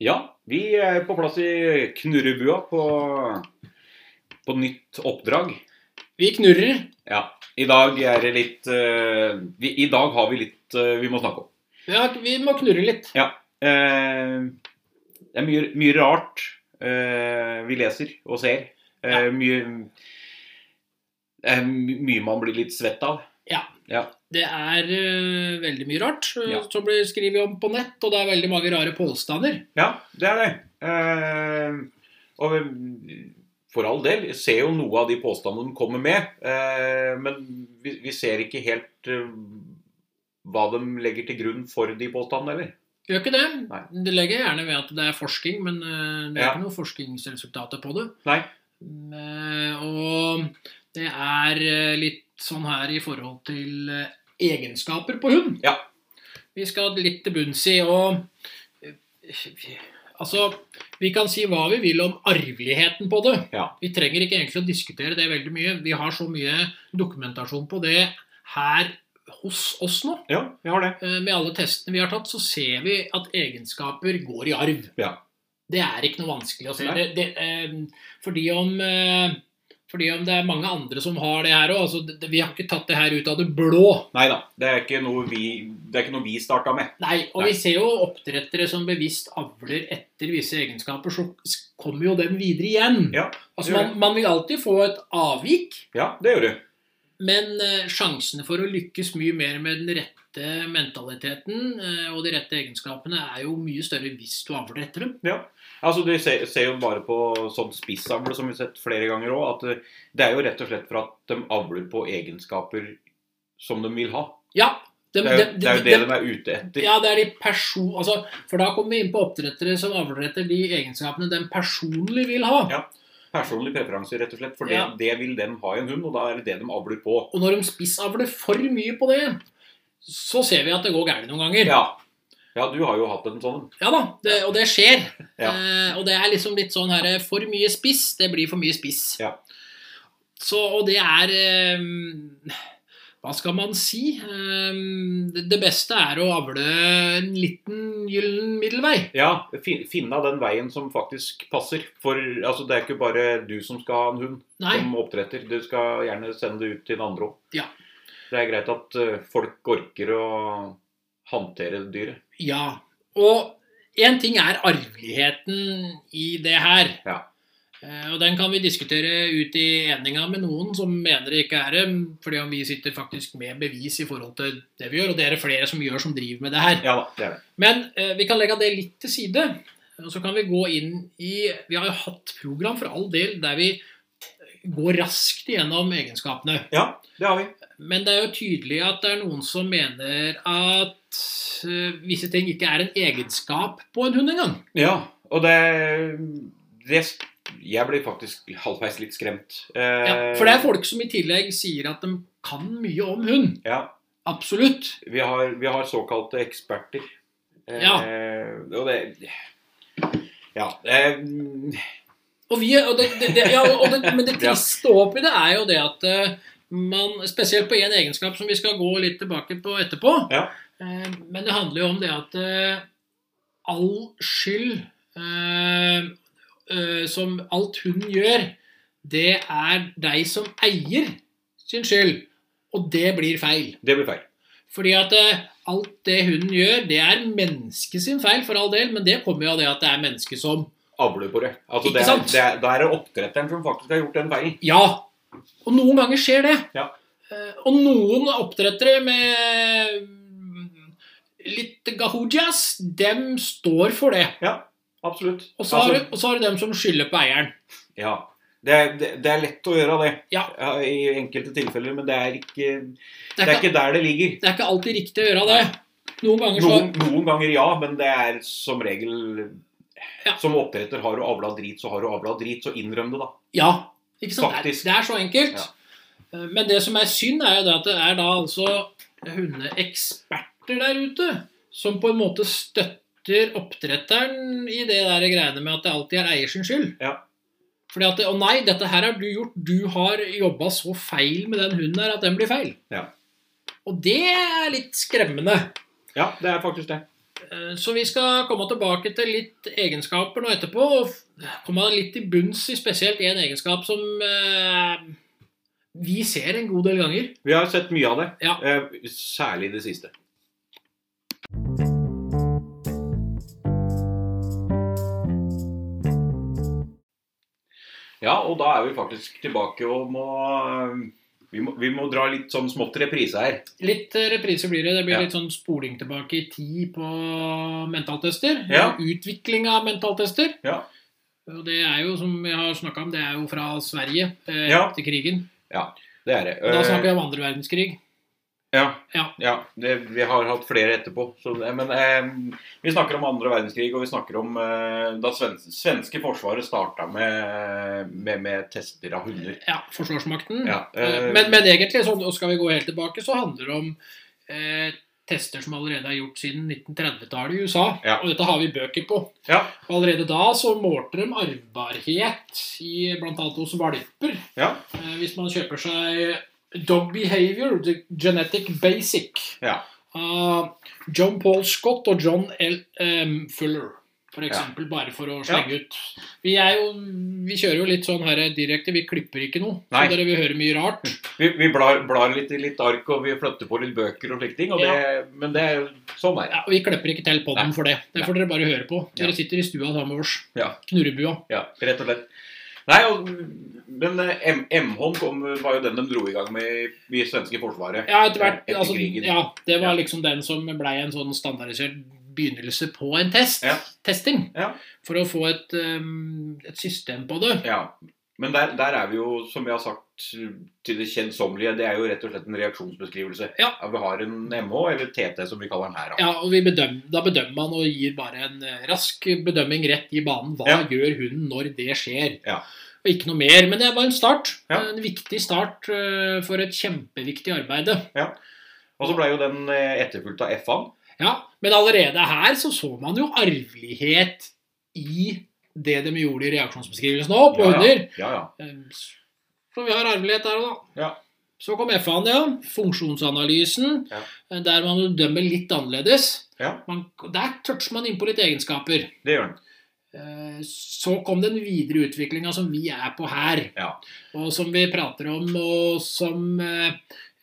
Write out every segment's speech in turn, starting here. Ja, vi er på plass i knurrebua på, på nytt oppdrag. Vi knurrer. Ja, i dag er det litt eh, vi, I dag har vi litt eh, vi må snakke om. Ja, vi må knurre litt. Eh, det er mye, mye rart eh, vi leser og ser. Eh, mye, det er my- mye man blir litt svett av. Det er eh, veldig mye rart eh, Ja. som blir skrevet om på nett, og det er veldig mange rare påstander. Ja, det er det. Eh, og eh, for all del, jeg ser jo noe av de påstandene de kommer med, eh, men vi, vi ser ikke helt eh, hva de legger til grunn for de påstandene, eller? Gjør ikke det. Nei. Det legger jeg gjerne ved at det er forskning, men eh, det er Ja. ikke noen forskningsresultater på det. Nei. Eh, Og det er eh, litt sånn her i forhold til eh, egenskaper på hund. Ja. Vi skal litt til bunns i, og eh, Altså, vi kan si hva vi vil om arveligheten på det. Ja. Vi trenger ikke egentlig å diskutere det veldig mye. Vi har så mye dokumentasjon på det her hos oss nå. Ja, vi har det. Eh, Med alle testene vi har tatt, så ser vi at egenskaper går i arv. Ja. Det er ikke noe vanskelig å se. Nei. Det, det, eh, fordi, om, eh, fordi om det er mange andre som har det her òg. Altså, det- det- vi har ikke tatt det her ut av det blå. Nei da, det er ikke noe vi, det er ikke noe vi starta med. Nei, og Nei. vi ser jo oppdrettere som bevisst avler etter visse egenskaper, så s- kommer jo dem videre igjen. Ja, altså, man, man vil alltid få et avvik, Ja, det gjør du. men eh, sjansene for å lykkes mye mer med den rette mentaliteten eh, og de rette egenskapene er jo mye større hvis du avler etter dem. Altså, Du ser, ser jo bare på sånn spissavle, som vi har sett flere ganger òg, at eh, det er jo rett og slett for at de avler på egenskaper som de vil ha. Ja, Det dem- er jo dem- det, er jo det dem- de er ute etter. Ja, det er de person... Altså, for da kommer vi inn på oppdrettere som avler etter de egenskapene den personlig vil ha. Ja. Personlig preferanse, rett og slett. For det, Ja. det vil den ha i en hund, og da er det det de avler på. Og når de spissavler for mye på det, så ser vi at det går gærent noen ganger. Ja. ja, du har jo hatt en sånn. Ja da, det, og det skjer. Ja. Eh, og det er liksom litt sånn her For mye spiss, det blir for mye spiss. Ja. Så, og det er eh, Hva skal man si? Eh, det- det beste er å avle en liten gyllen middelvei. Ja, fin- finne den veien som faktisk passer. For altså, det er ikke bare du som skal ha en hund Nei. som oppdretter. Du skal gjerne sende det ut til andre òg. Ja. Det er greit at eh, folk orker å håndtere dyret. Ja. Og én ting er arveligheten i det her. Ja. Eh, Og den kan vi diskutere ut i eninga med noen som mener det ikke er det, fordi om vi sitter faktisk med bevis i forhold til det vi gjør, og det er det flere som gjør som driver med det her. Ja da, det er det. Men eh, vi kan legge det litt til side, og så kan vi gå inn i Vi har jo hatt program for all del der vi går raskt igjennom egenskapene. Ja, det har vi. Men det er jo tydelig at det er noen som mener at eh, visse ting ikke er en egenskap på en hund engang. Ja, og det, det Jeg blir faktisk halvveis litt skremt. Eh, Ja, for det er folk som i tillegg sier at de kan mye om hund. Eh, ja, Absolutt. Vi har, vi har såkalte eksperter. Eh, Ja. Og det Ja. Eh, Og vi, og det, det, det, ja, og det, men det Ja. triste oppi det er jo det at eh, man, spesielt på én egenskap som vi skal gå litt tilbake på etterpå, Ja. eh, men det handler jo om det at eh, all skyld eh, eh, som alt hun gjør, det er deg som eier sin skyld, og det blir feil. det blir feil. Fordi at eh, alt det hunden gjør, det er mennesket sin feil for all del, men det kommer jo av det at det er mennesket som Avlebordet. Altså, Ikke det, er- sant? det, er- da er det oppdretteren som faktisk har gjort den feilen. Ja. Og noen ganger skjer det. Ja. Eh, Og noen oppdrettere med mm, litt gahujas, dem står for det. Absolutt. Og så har, Altså, du- og så har du dem som skylder på eieren. ja. det, er, det, det er lett å gjøre det Ja. i enkelte tilfeller, men det er ikke, Det det er, er ikke, ikke der det ligger. det er ikke alltid riktig å gjøre det. Noen ganger så Noen, noen ganger ja, men det er som regel Ja. Som oppdretter har du avla drit, så har du avla drit. Så innrøm det, da. Ja. Ikke sant? Det er, Faktisk. det er så enkelt. Eh, Men det som er synd, er jo det at det er da altså hundeeksperter der ute som på en måte støtter oppdretteren i det der greiene med at det alltid er eiers skyld. Ja. Fordi at, Å nei, dette her har du gjort. Du har jobba så feil med den hunden her at den blir feil. Ja. Og det er litt skremmende. Ja, det er faktisk det. Eh, Så vi skal komme tilbake til litt egenskaper nå etterpå, og f- komme litt til bunns i spesielt én egenskap som eh, vi ser en god del ganger. Vi har sett mye av det. Ja. Eh, Særlig i det siste. Ja, og da er vi faktisk tilbake og må eh, Vi må, vi må dra litt sånn smått reprise her. Litt eh, reprise blir det. Det blir Ja. litt sånn spoling tilbake i tid på mentaltester. Ja. Utvikling av mentaltester. Ja. Og det er jo, som jeg har snakka om, det er jo fra Sverige eh, Ja. etter krigen. Det er det. Og da Eh, snakker vi om andre verdenskrig. Ja. Ja. det, vi har hatt flere etterpå. Så, eh, men eh, vi snakker om andre verdenskrig, og vi snakker om eh, da svenske, svenske forsvaret starta med, med, med tester av hunder. Ja, Forsvarsmakten. Ja, eh, Eh, Men, men egentlig, sånn, og skal vi gå helt tilbake, så handler det om eh, tester som allerede er gjort siden 1930-tallet i USA. Ja. Og dette har vi bøker på. Ja. Og allerede da så målte de arvbarhet i bl.a. hos valper. Ja. Eh, hvis man kjøper seg Dog Behavior, The Genetic Basic, Ja. av John Paul Scott og John L. em, Fuller. For eksempel, bare for å slenge ut. Vi, er jo, vi kjører jo litt sånn her direkte, vi klipper ikke noe. Nei. Så dere vil høre mye rart. Vi, vi blar, blar litt i litt ark, og vi flytter på litt bøker og slike ting. Og det, Men det er sånn er det. Ja, og Vi klipper ikke til podden Nei. for det. Det får dere bare høre på. Ja. Dere sitter i stua sammen med oss. Ja. Knurrebua. Ja, rett og slett. Nei, og, men eh, M- M-hånd kom- var jo den de dro i gang med i, i svenske forsvaret. Ja, etter hvert. Etter altså, krigen. ja, det var Ja. liksom den som ble en sånn standardisert begynnelse på en test. Ja. Testing. Ja. For å få et, um, et system på det. Ja, men der, der er vi jo, som vi har sagt til det kjedsommelige, det er jo rett og slett en reaksjonsbeskrivelse. Ja. Vi har en MH, eller TT som vi kaller den her. da. Ja, og vi bedøm, Da bedømmer man og gir bare en eh, rask bedømming rett i banen. Hva Ja. gjør hunden når det skjer? Ja. Og ikke noe mer. Men det var en start. Ja. En viktig start eh, for et kjempeviktig arbeid. Og så ble jo den eh, etterfulgt av F-en. Ja, men allerede her så så man jo arvelighet i det de gjorde i reaksjonsbeskrivelsen òg, på Ja, hunder. Eh, Ja, ja. Så vi har arvelighet der òg, da. Ja. Så kom F-an, ja. Funksjonsanalysen, eh, Ja. der man jo dømmer litt annerledes. Ja. Man, der toucher man innpå litt egenskaper. Det gjør den. Eh, Så kom den videre utviklinga som vi er på her, Ja. og som vi prater om, og som eh,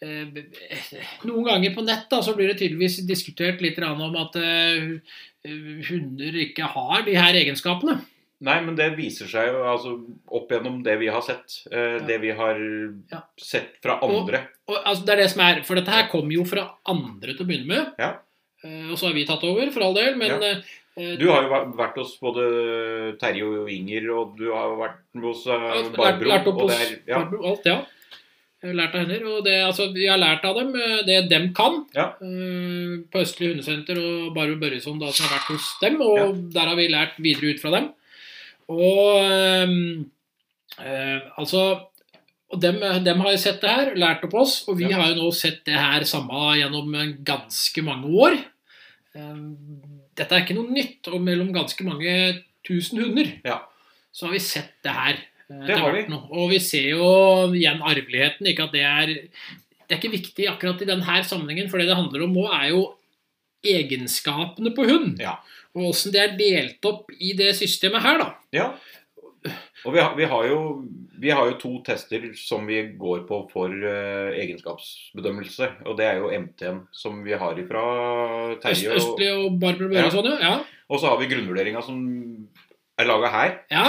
eh, Noen ganger på nett da, så blir det tydeligvis diskutert litt grann om at eh, hunder ikke har de her egenskapene. Nei, men det viser seg jo altså, opp gjennom det vi har sett. eh, Ja. Det vi har Ja. sett fra andre. Og, altså, det er det som er, For dette her kom jo fra andre til å begynne med, Ja. Eh, og så har vi tatt over, for all del, men Ja. eh, eh, Du har jo væ- vært hos både Terje og Inger, og du har vært hos eh, Lært, Barbro. lært opp og hos det er, ja, Barbro, alt, ja. Lært av henne. Og det, altså, vi har lært av dem eh, det dem kan. Ja. Eh, På Østlig hundesenter og Barbro Børjesson da, som har vært hos dem. Og der har vi lært videre ut fra dem. Og eh, eh, altså og dem, dem har jo sett det her, lært opp oss, og vi Ja. har jo nå sett det her samme gjennom ganske mange år. Eh, Dette er ikke noe nytt, og mellom ganske mange tusen hunder Ja. så har vi sett det her. eh, Det har vi. nå. Og vi ser jo igjen arveligheten, ikke at det er Det er ikke viktig akkurat i denne sammenhengen, for det det handler om nå, er jo egenskapene på hund. Ja. Og åssen det er delt opp i det systemet her, da. Ja. Og vi har, vi, har jo, vi har jo to tester som vi går på for eh, egenskapsbedømmelse. Og det er jo MTN, som vi har ifra Øst, Terje. Og, Østlig og Barbro Børjesson, ja. ja. og så har vi grunnvurderinga som er laga her. Ja,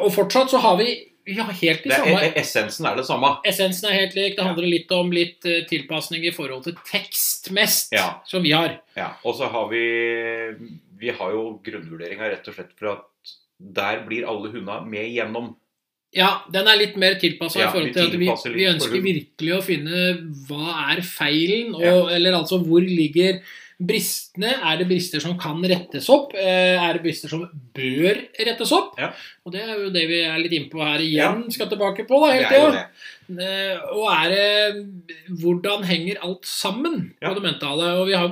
og fortsatt så har vi, vi har helt de Det er, samme e- essensen er det samme. Essensen er helt lik. Det handler litt om litt eh, tilpasning i forhold til tekst mest, Ja. som vi har. Ja. Og så har vi Vi har jo grunnvurderinga rett og slett for at der blir alle hundene med igjennom. Ja, den er litt mer tilpassa Ja, i forhold vi til at vi, tilpasser litt vi for ønsker hund. virkelig å finne hva er feilen, og, eller altså hvor ligger bristene. Er det brister som kan rettes opp? Eh, Er det brister som bør rettes opp? Ja. Og det er jo det vi er litt innpå her igjen, Ja. skal tilbake på da, Det hele er jo tida. det. Eh, Og er det Hvordan henger alt sammen Ja. på det mentale? Og vi har,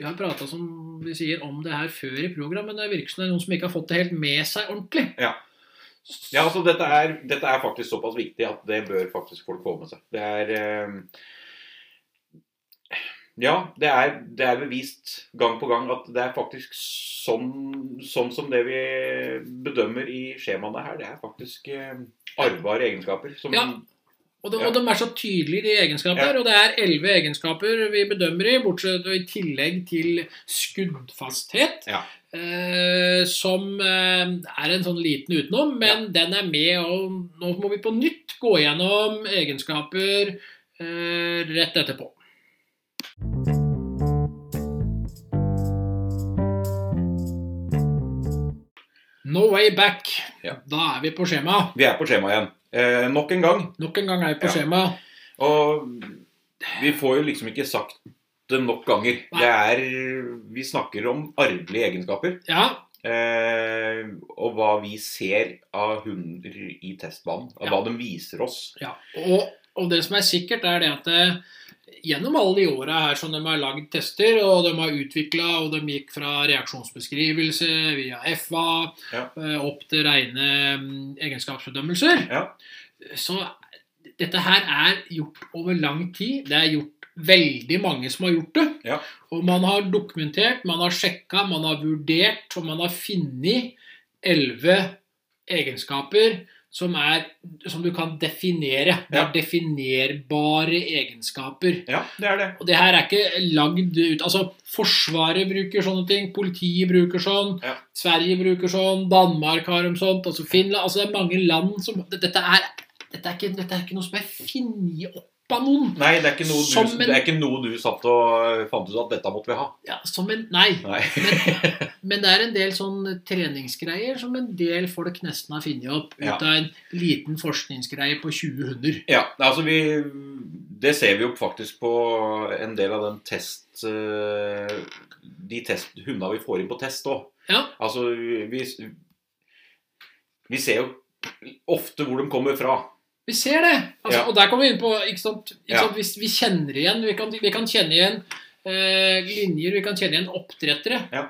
vi har prata som vi sier om det her før i programmet, men det virker som det er noen som ikke har fått det helt med seg ordentlig. Ja. Ja, altså dette er, dette er faktisk såpass viktig at det bør faktisk folk få med seg. Det er eh, Ja, det er, det er bevist gang på gang at det er faktisk sånn, sånn som det vi bedømmer i skjemaene her. Det er faktisk eh, arvbare egenskaper. Som, Ja. Og de, Ja. og de er så tydelige, de egenskapene. her, Og det er elleve egenskaper vi bedømmer i, bortsett og i tillegg til skuddfasthet. Ja. Eh, som eh, er en sånn liten utenom, men den er med. Og nå må vi på nytt gå gjennom egenskaper eh, rett etterpå. No way back. Ja. Da er vi på skjema. Vi er på skjema igjen. Eh, nok en gang. Nok en gang er vi på Ja. skjema. Og vi får jo liksom ikke sagt det nok ganger. Nei. Det er, vi snakker om arvelige egenskaper. Ja, Eh, og hva vi ser av hunder i testbanen. Og Ja. hva de viser oss. Ja, og, og det som er sikkert, er det at eh, gjennom alle de åra her som de har lagd tester, og de har utvikla, og de gikk fra reaksjonsbeskrivelse via FA Ja. eh, opp til rene mm, egenskapsbedømmelser, Ja. så dette her er gjort over lang tid. Det er gjort veldig mange som har gjort det. Ja. Og man har dokumentert, man har sjekka, man har vurdert, og man har funnet elleve egenskaper som, er, som du kan definere. Det er Ja. definerbare egenskaper. Ja, det er det. Og det her er ikke lagd ut Altså, Forsvaret bruker sånne ting, politiet bruker sånn, Ja. Sverige bruker sånn, Danmark har dem sånt, altså Finland Altså det er mange land som Dette er, dette er, ikke, dette er ikke noe som er funnet opp av noen. Nei, det er ikke noe Som du, en- det er ikke noe du satt og fant ut at dette måtte vi ha. Ja, som en, nei. Nei. Men det er en del sånn treningsgreier som en del folk nesten har funnet opp ut Ja. av en liten forskningsgreie på 20 hunder. Ja, altså vi Det ser vi jo faktisk på en del av den test eh, De test, hundene vi får inn på test òg. Ja. Altså vi, vi ser jo ofte hvor de kommer fra. Vi ser det. Altså, Ja. Og der kommer vi inn på ikke sant? Ikke Ja. sant? Hvis vi kjenner igjen Vi kan, vi kan kjenne igjen eh, linjer, vi kan kjenne igjen oppdrettere. Ja.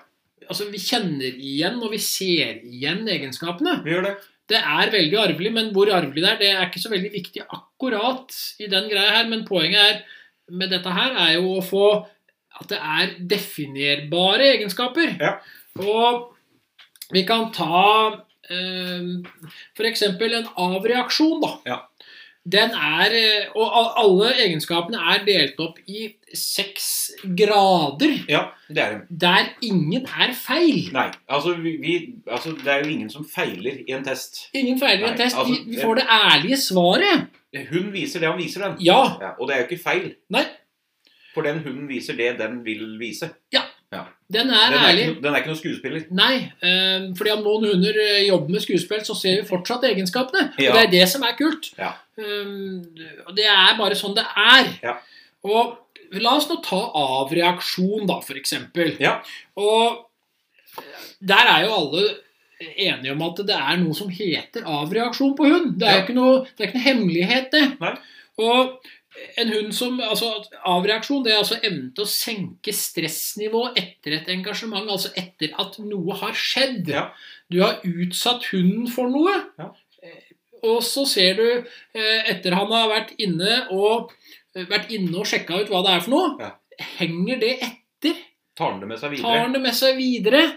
Altså, Vi kjenner igjen og vi ser igjen egenskapene. Vi gjør det. Det er veldig arvelig, men hvor arvelig det er, det er ikke så veldig viktig akkurat i den greia her. Men poenget er, med dette her er jo å få at det er definerbare egenskaper. Ja. Og vi kan ta f.eks. en avreaksjon, da. Ja. Den er, eh, og a- alle egenskapene er delt opp i seks grader, Ja, det er de. der ingen er feil. Nei, altså, vi, vi, altså det er jo ingen som feiler i en test. Ingen feiler i en Nei, test. altså, vi, vi det- får det ærlige svaret. Hun viser det han viser den. Ja, Ja, og det er jo ikke feil. Nei. For den hunden viser det den vil vise. Den er, Den er, ærlig. ikke, no- den er ikke noen skuespiller. Nei, eh, fordi om noen hunder eh, jobber med skuespill, så ser vi fortsatt egenskapene. Ja. Og det er det som er kult. Ja. Eh, og det er bare sånn det er. Ja. Og la oss nå ta av reaksjon, da, for eksempel. Ja. Og der er jo alle enige om at det er noe som heter avreaksjon på hund. Det er jo Ja. ikke noe, det er ikke noe hemmelighet, det. Nei. Og en hund som altså Avreaksjon det er altså evnen til å senke stressnivået etter et engasjement. Altså etter at noe har skjedd. Ja. Du har utsatt hunden for noe. Ja. Eh, Og så ser du, eh, etter han har vært inne og eh, vært inne og sjekka ut hva det er for noe, Ja. henger det etter? Tar den det med seg tar videre. han det med seg videre.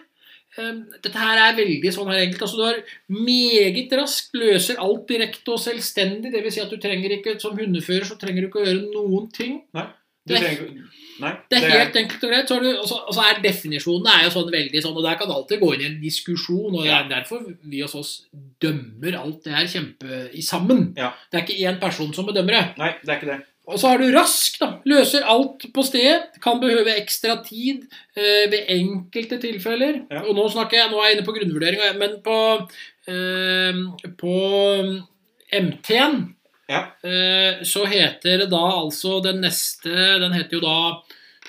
Um, Dette her er veldig sånn her enkelt. Altså, du har meget raskt løser alt direkte og selvstendig. Det vil si at du trenger ikke, som hundefører, så trenger du ikke å gjøre noen ting. Du trenger, nei, Det er helt enkelt og greit. Så har du, og så, og så er definisjonene er jo sånn veldig sånn, og der kan det alltid gå inn i en diskusjon, og det er derfor vi hos oss dømmer alt det her kjempe i sammen. Ja. Det er ikke én person som bedømmer det. nei, det er ikke det. Og så har du rask, da. Løser alt på stedet. Kan behøve ekstra tid eh, ved enkelte tilfeller. Ja. Og nå snakker jeg, nå er jeg inne på grunnvurdering, men på, eh, på eh, MT-en Ja. eh, så heter det da altså den neste Den heter jo da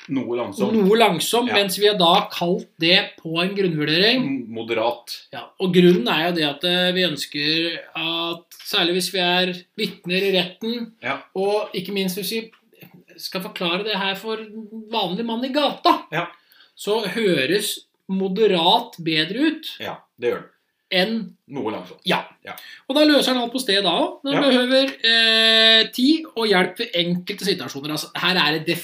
Noe langsomt. noe langsom, Ja. mens vi har da kalt det på en grunnvurdering. Moderat. Ja, og grunnen er jo det at eh, vi ønsker at særlig hvis vi er vitner i retten, Ja. og ikke minst hvis vi skal forklare det her for en vanlig mann i gata, Ja. så høres moderat bedre ut Ja, det gjør den. enn Noe langsomt. Og da løser han alt på stedet da òg. Når han Ja. behøver eh, tid og hjelp ved enkelte situasjoner. Altså, her er det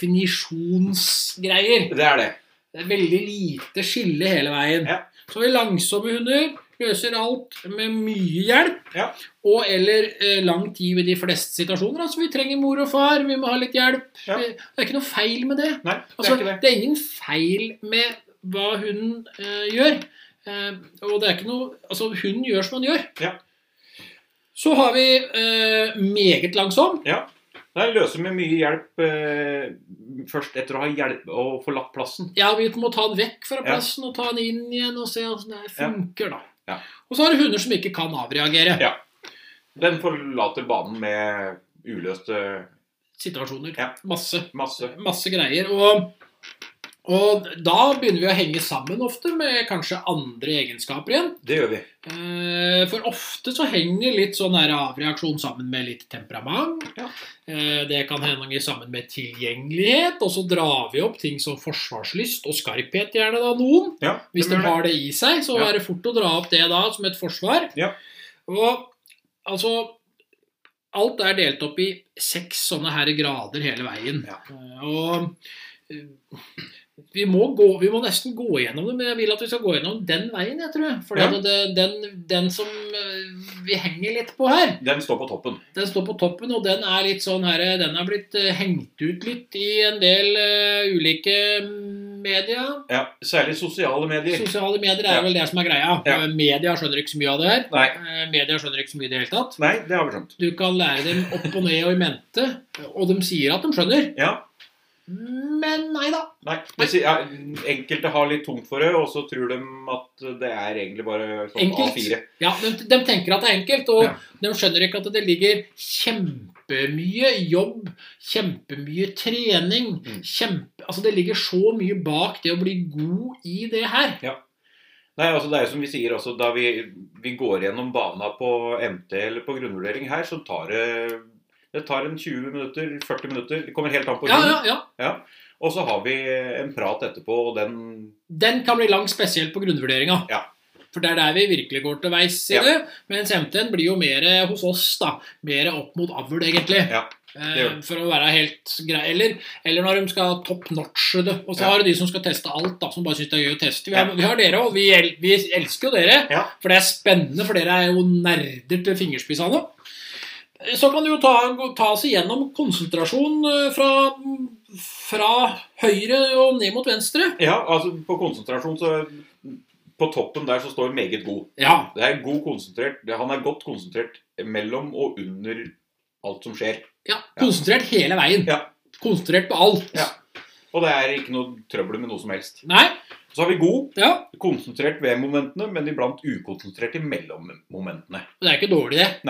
definisjonsgreier. Det er det. Det er veldig lite skille hele veien. Ja. Så vi langsomme hunder løser alt med mye hjelp. Ja. Og eller eh, lang tid ved de fleste situasjoner. Altså, vi trenger mor og far, vi må ha litt hjelp. Ja. Eh, Det er ikke noe feil med det. Nei, det Altså, er ikke det. det er ingen feil med hva hunden eh, gjør. Eh, og det er ikke noe Altså, hunden gjør som han gjør. Ja. Så har vi eh, meget langsom. Det er løse med mye hjelp eh, først etter å ha hjelp og forlatt plassen. Ja, vi må ta den vekk fra Ja. plassen og ta den inn igjen og se åssen det funker, da. Ja. Og så har du hunder som ikke kan avreagere Ja. Den forlater banen med uløste situasjoner. Ja. Masse. masse. Masse greier. Og, og da begynner vi å henge sammen ofte med kanskje andre egenskaper igjen. Det gjør vi. Eh, For ofte så henger litt sånn her avreaksjon sammen med litt temperament. Ja. Eh, Det kan henge sammen med tilgjengelighet, og så drar vi opp ting som forsvarslyst og skarphet, gjerne da noen. Ja, Hvis de gjør det. har det i seg, så Ja. er det fort å dra opp det da som et forsvar. Ja. Og altså Alt er delt opp i seks sånne her grader hele veien. Ja. Eh, Og eh, vi må, gå, vi må nesten gå gjennom det, men jeg vil at vi skal gå gjennom den veien, jeg tror. For Ja. det, det- den, den som eh, vi henger litt på her, Den står på toppen. den står på toppen, og den er litt sånn her Den er blitt eh, hengt ut litt i en del eh, ulike media. Ja, Særlig sosiale medier. Sosiale medier er Ja. vel det som er greia. Ja. Eh, Media skjønner ikke så mye av det her. Nei. Eh, Media skjønner ikke så mye i det hele tatt. Nei, det har vi skjønt. Du kan lære dem opp og ned og i mente, og de sier at de skjønner. Ja. Men nei da. Nei. Det sier- ja, enkelte har litt tungt for det, og så tror de at det er egentlig bare sånn Enkelt. A4. Ja, de, de tenker at det er enkelt, og Ja. de skjønner ikke at det ligger kjempemye jobb, kjempemye trening Mm. kjempe, Altså det ligger så mye bak det å bli god i det her. Nei, altså det er jo som vi sier også, da vi, vi går gjennom bana på MT eller på grunnvurdering her, så tar det, det tar en 20 minutter, 40 minutter, det kommer helt an på Ja, hunden. ja, ja. Og så har vi en prat etterpå, og den Den kan bli lang spesielt på grunnvurderinga. Ja. For det er der vi virkelig går til veis i Ja. det. Mens MT-en blir jo mer eh, hos oss, da. Mer opp mot avl, egentlig. Ja, Eh, gjør den. for å være helt grei. Eller, eller når de skal top notche det. Og så Ja. har du de som skal teste alt, da, som bare syns det er gøy å teste. Vi har, Ja. vi har dere òg. Vi, el vi elsker jo dere. Ja. For det er spennende, for dere er jo nerder til fingerspissene. Eh, Så kan du jo ta, gå- ta oss igjennom konsentrasjon eh, fra, fra høyre og ned mot venstre. ja, altså på konsentrasjon så På toppen der så står meget god. Ja, Det er god konsentrert, det- Han er godt konsentrert mellom og under alt som skjer. Ja, Ja. konsentrert hele veien. Ja. Konsentrert på alt. Ja. Og det er ikke noe trøbbel med noe som helst. Nei, Så har vi god, ja, konsentrert ved momentene, men iblant ukonsentrert imellom momentene. det er ikke dårlig det.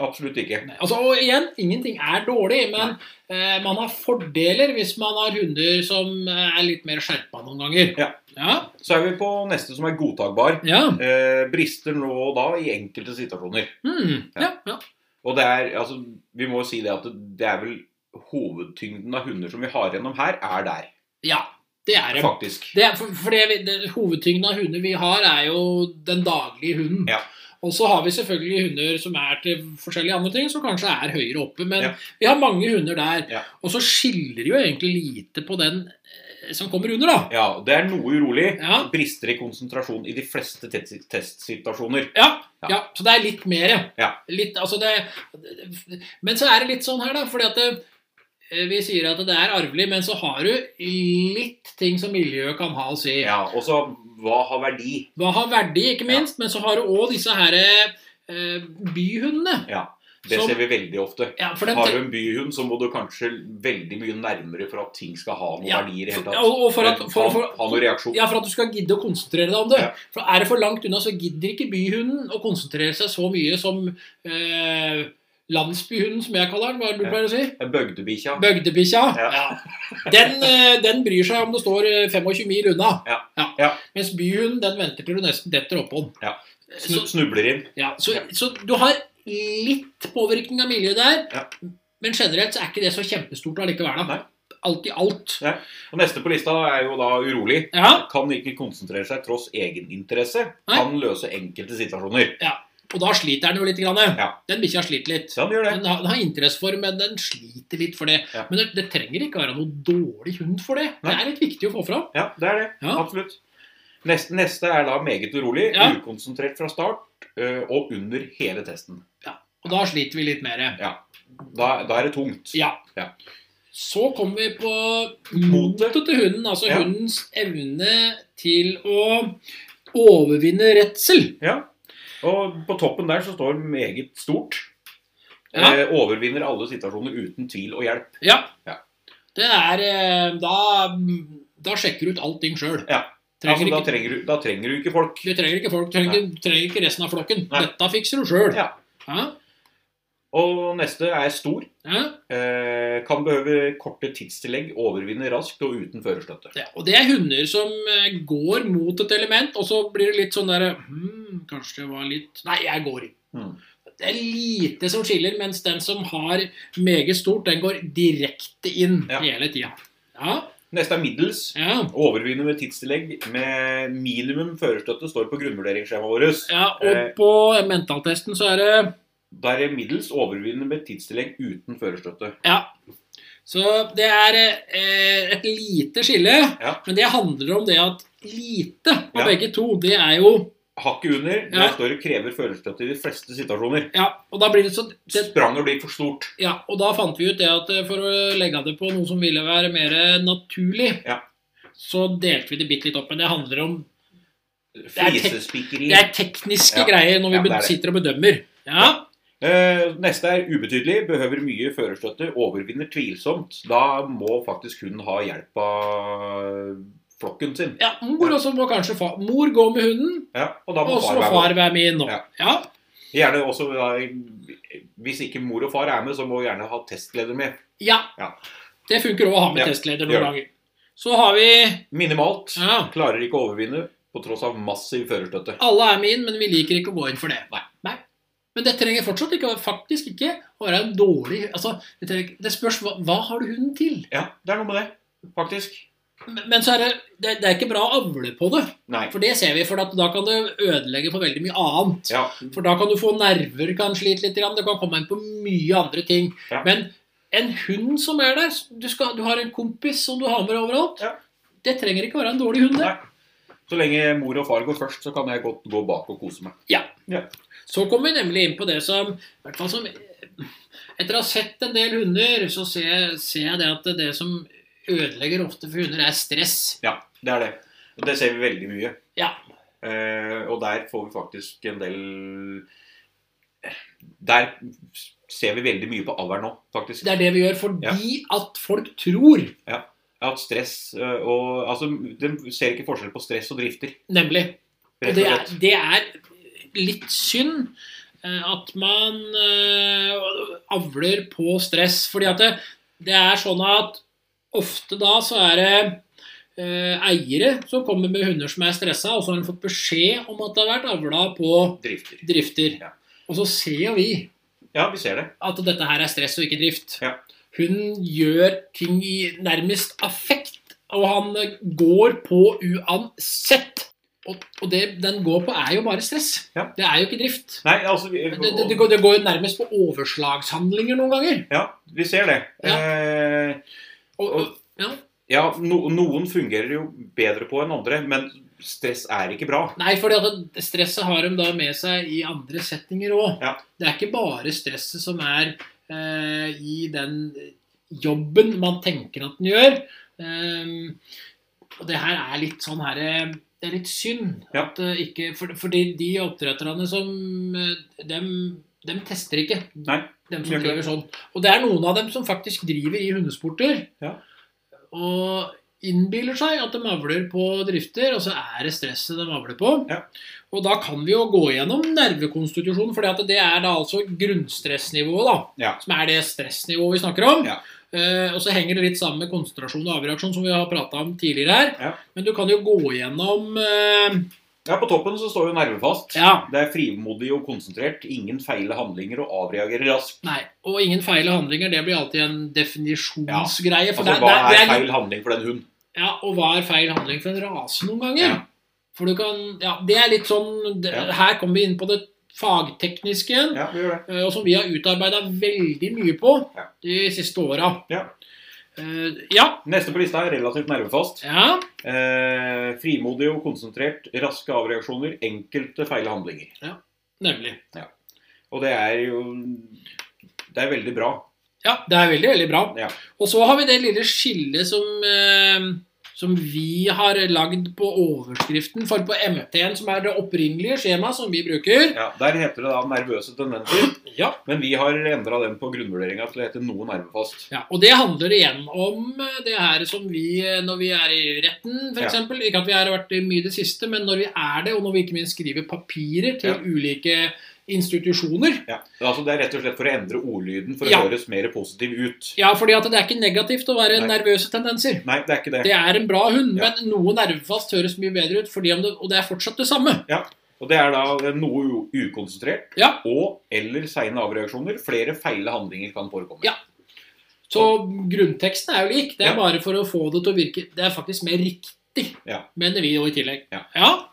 Absolutt ikke. Nei, Altså, og igjen, ingenting er dårlig, men eh, man har fordeler hvis man har hunder som eh, er litt mer skjerpa noen ganger. Ja. Ja, Så er vi på neste som er godtakbar. ja. Eh, brister nå og da i enkelte situasjoner. Mm, ja, ja. Og det er, altså, vi må jo si det at det er vel hovedtyngden av hunder som vi har gjennom her, er der, ja det er det. faktisk. det er, for for det, vi- det, hovedtyngden av hunder vi har, er jo den daglige hunden. Ja. Og så har vi selvfølgelig hunder som er til forskjellige andre ting, som kanskje er høyere oppe. Men Ja. vi har mange hunder der. Ja. Og så skiller jo egentlig lite på den eh, som kommer under, da. Ja, det er noe urolig. Ja, Brister i konsentrasjon i de fleste te- testsituasjoner. ja, Ja. ja. Så det er litt mer, Ja. Litt, altså det, men så er det litt sånn her, da. Fordi at det, eh, vi sier at det er arvelig, men så har du litt ting som miljøet kan ha å si. Ja, og så hva har verdi? Hva har verdi, ikke Ja. minst, men så har du òg disse her eh, byhundene. Ja, det Som- ser vi veldig ofte. Ja, for dem Har du en byhund, så må du kanskje veldig mye nærmere for at ting skal ha noen Ja, verdi i det hele for, tatt. og, og for at, for, for, ha, ha noen reaksjon. Ja, for at du skal gidde å konsentrere deg om det. Ja. For Er det for langt unna, så gidder ikke byhunden å konsentrere seg så mye som eh, landsbyhunden, som jeg kaller den. Hva er det du Ja. pleier å si? Bøgdebikkja. Bøgdebikkja. Ja. Den, eh, den bryr seg om det står eh, 25 mil unna. Ja. Ja. Mens byhunden den venter til du nesten detter oppå den. Eh, Ja. Så, Snu- Snubler inn. ja, så, Ja. så du har litt påvirkning av miljøet der, Ja. men generelt så er ikke det så kjempestort allikevel. da. Nei. alt i alt. Og neste på lista er jo da urolig. Ja, Kan ikke konsentrere seg tross egeninteresse. Nei. Kan løse enkelte situasjoner. og da sliter den jo litt. Grann. Ja. Den bikkja sliter litt. Så han gjør det. Den har, den har interesse for, men den sliter litt for det. Ja. Men det, det trenger ikke være noe dårlig hund for det. Det Nei. er litt viktig å få fram. Ja, det er det. Ja. Absolutt. Neste, neste er da meget urolig, Ja. ukonsentrert fra start ø, og under hele testen. Og da sliter vi litt mer. Da, da er det tungt. Ja. Ja. Så kommer vi på Motet. motet til hunden. Altså Ja. hundens evne til å overvinne redsel. Ja. Og på toppen der så står meget stort. Ja. Eh, overvinner alle situasjoner uten tvil og hjelp. Ja. Ja. Det er eh, Da, da sjekker du ut allting sjøl. Ja. Altså, da, trenger du, da trenger du ikke folk. Du trenger ikke folk, trenger, trenger ikke resten av flokken. Nei. Dette fikser du sjøl. Ja. Ja. Og neste er stor. Ja. Eh, kan behøve korte tidstillegg, overvinne raskt og uten førerstøtte. Ja, og det er hunder som eh, går mot et element, og så blir det litt sånn derre hmm, Kanskje det var litt Nei, jeg går ikke. Mm. Det er lite som skiller, mens den som har meget stort, den går direkte inn Ja. hele tida. Ja, Neste er middels. ja. Overvinne med tidstillegg med minimum førerstøtte står på grunnvurderingsskjemaet vårt. ja. Eh. Og på mentaltesten så er det Da er det middels overvinne med tidstillegg uten førerstøtte. Så det er eh, et lite skille, Ja. men det handler om det at lite av Ja. begge to, det er jo Hakket under, Ja. der står det krever førerstøtte i de fleste situasjonger. Ja, og da blir det sånn det, Spranget blir for stort. Ja, og da fant vi ut det at eh, for å legge det på noe som ville være mer naturlig, Ja. så delte vi det bitte litt opp. Men det handler om er tek- Flisespikkeri. Det er tekniske Mm. Ja. greier når vi Ja, det er be- det. sitter og bedømmer. Ja, Eh, neste er ubetydelig. Behøver mye førerstøtte. Overvinner tvilsomt. Da må faktisk hun ha hjelp av flokken sin. ja mor også må kanskje fa Mor går med hunden, Ja, og da må og så far være må med. far være med inn nå. Ja. Ja, Gjerne også, da, Hvis ikke mor og far er med, så må gjerne ha testleder med. ja. Ja. Det funker òg å ha Ja, med testleder gjør noen ganger. Så har vi Minimalt. ja, Klarer ikke å overvinne på tross av massiv førerstøtte. Alle er med inn, men vi liker ikke å gå inn for det. Nei. Men det trenger fortsatt ikke, faktisk ikke å være en dårlig altså, Det, trenger, ikke- det spørs hva, hva har du hunden til? Ja, det er noe med det, faktisk. Men men så er det, det, det er ikke bra å avle på det. Nei. For det ser vi, for at da kan det ødelegge for veldig mye annet. Ja, For da kan du få nerver, kan slite litt, grann, det kan komme inn på mye andre ting. Ja. Men en hund som er der, du, skal, du har en kompis som du har med overalt, Ja. det trenger ikke være en dårlig hund. det. Nei. Så lenge mor og far går først, så kan jeg godt gå bak og kose meg. Så kommer vi nemlig inn på det som, i hvert fall som Etter å ha sett en del hunder, så ser jeg, ser jeg det at det som ødelegger ofte for hunder, er stress. Ja, det er det. Og det ser vi veldig mye. Ja. Eh, og der får vi faktisk en del Der ser vi veldig mye på alder nå, faktisk. Det er det vi gjør fordi at folk tror, At stress eh, og Altså, de ser ikke forskjell på stress og drifter, nemlig Og rett det og er, slett. det er litt synd eh, at man eh, avler på stress. Fordi at det, det er sånn at ofte da så er det eh, eiere som kommer med hunder som er stressa, og så har de fått beskjed om at det har vært avla på Drifter. drifter. Ja. Og så ser jo vi Ja, vi ser det. at dette her er stress og ikke drift. Ja. Hun gjør ting i nærmest affekt, og han eh, går på uansett. Og, og det den går på, er jo bare stress. Ja. Det er jo ikke drift. Nei, altså vi, Det, det, det, går, det går jo nærmest på overslagshandlinger noen ganger. Ja, vi ser det. Ja. Eh, Og, og, Og- ja. Ja, no, noen fungerer jo bedre på enn andre, men stress er ikke bra. Nei, for stresset har de da med seg i andre settinger òg. Ja. Det er ikke bare stresset som er eh, i den jobben man tenker at den gjør. Ehm, og det her er litt sånn her eh, Det er litt synd. Ja. At, eh, ikke, for, fordi de oppdretterne som eh, dem, dem tester ikke. Nei, gjør Dem som ikke driver det. sånn. Og det er noen av dem som faktisk driver i hundesporter. Ja. Og innbiller seg at de avler på drifter, og så er det stresset de avler på. Ja. Og da kan vi jo gå gjennom nervekonstitusjonen, for det er da altså grunnstressnivået, da. Ja. Som er det stressnivået vi snakker om. Ja. Eh, og så henger det litt sammen med konsentrasjon og avreaksjon, som vi har prata om tidligere her. Ja. Men du kan jo gå gjennom eh, Ja, På toppen så står jo nervefast. Ja, Det er frimodig og konsentrert. Ingen feile handlinger og avreagerer raskt. nei. Og ingen feil handlinger, det blir alltid en definisjonsgreie. for Altså, det- hva det- det er litt- feil handling for den hund? Ja, og hva er feil handling for en rase noen ganger? Ja. For du kan, ja, Det er litt sånn det, Ja. Her kommer vi inn på det fagtekniske, Ja, vi gjør det. eh, og som vi har utarbeida veldig mye på Ja. de siste åra. Ja. Eh, ja. Neste på lista er relativt nervefast. ja. Eh, frimodig og konsentrert. Raske avreaksjoner. Enkelte feile handlinger. Nemlig. Og det er jo Det er veldig bra. Ja, det er veldig, veldig bra. Ja. Og så har vi det lille skillet som, eh, som vi har lagd på overskriften. For på MT-en, som er det opprinnelige skjemaet som vi bruker Ja, Der heter det da nervøse tendenser, Ja, men vi har endra den på grunnvurderinga til å hete noe nervefast. Ja, og det handler igjen om eh, det her som vi, eh, når vi er i retten Ja. f.eks. eksempel, Ikke at vi har vært det mye i det siste, men når vi er det, og når vi ikke minst skriver papirer til Ja. ulike institusjoner. Ja, altså Det er rett og slett for å endre ordlyden for å Ja. høres mer positiv ut. Ja, fordi at det er ikke negativt å være Nei. nervøse tendenser. Nei, det er ikke det. Det er en bra hund, Ja. men noe nervefast høres mye bedre ut, fordi om det, og det er fortsatt det samme. Og det er da det er noe u- ukonsentrert Ja. og eller seine avreaksjoner. Flere feile handlinger kan forekomme. Ja. Så grunnteksten er jo lik. Det Ja. er bare for å få det til å virke Det er faktisk mer riktig, Ja. mener vi jo i tillegg. Ja. ja.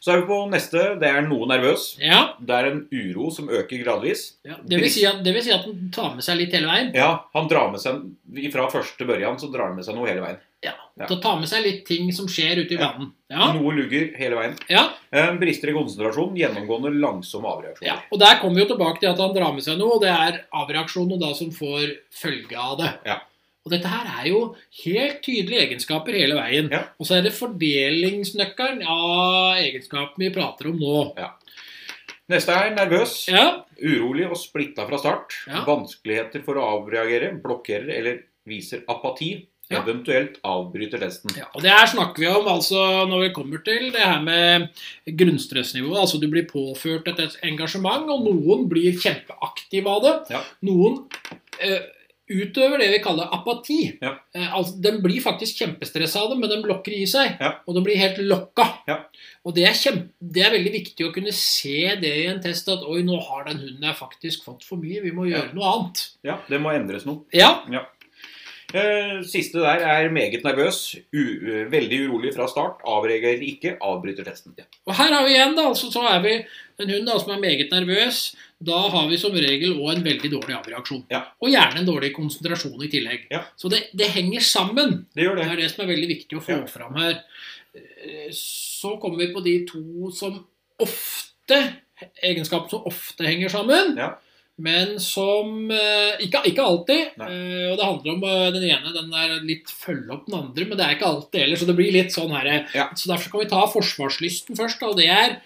Så er vi på neste. Det er noe nervøs. ja. Det er en uro som øker gradvis. ja. Det, vil si at, det vil si at den tar med seg litt hele veien. Ja, han drar med seg Fra første børjan så drar han med seg noe hele veien. Ja. Til å ta med seg litt ting som skjer ute i Ja. verden. Ja. Noe lugger hele veien. Ja. Eh, Brister i konsentrasjon, gjennomgående langsomme avreaksjoner. ja. Og der kommer vi jo tilbake til at han drar med seg noe, og det er avreaksjonen og da som får følge av det. Ja. Og dette her er jo helt tydelige egenskaper hele veien. Ja. Og så er det fordelingsnøkkelen av egenskapen vi prater om nå. Neste er nervøs, Ja. urolig og splitta fra start. Ja. Vanskeligheter for å avreagere, blokkerer eller viser apati. Ja. Eventuelt avbryter testen. Ja, og Det her snakker vi om altså når vi kommer til det her med grunnstressnivået. altså Du blir påført et engasjement, og noen blir kjempeaktive av det. Ja. Noen eh, utøver det vi kaller apati. Ja. Eh, altså, de blir faktisk kjempestressa av det, men de lokker i seg. Ja. Og de blir helt lokka. Ja. Og det er, kjempe, det er veldig viktig å kunne se det i en test at oi, nå har den hunden her faktisk fått for mye, vi må Ja. gjøre noe annet. Ja, det må endres noe. Ja, Eh, Siste der er meget nervøs, u eh, veldig urolig fra start, avreagerer ikke, avbryter testen. Og her har vi igjen, da, altså, så er vi en hund da, som er meget nervøs. Da har vi som regel òg en veldig dårlig avreaksjon. Ja. Og gjerne en dårlig konsentrasjon i tillegg. Ja. Så det, det henger sammen. Det gjør Det det. er det som er veldig viktig å få Ja. fram her. Eh, Så kommer vi på de to som ofte Egenskaper som ofte henger sammen. Ja. Men som eh, ikke, ikke alltid. Nei. eh, Og det handler om eh, den ene den er litt følge opp den andre, men det er ikke alltid heller. Så det blir litt sånn her eh, Ja. Så derfor kan vi ta forsvarslysten først. da, Og det er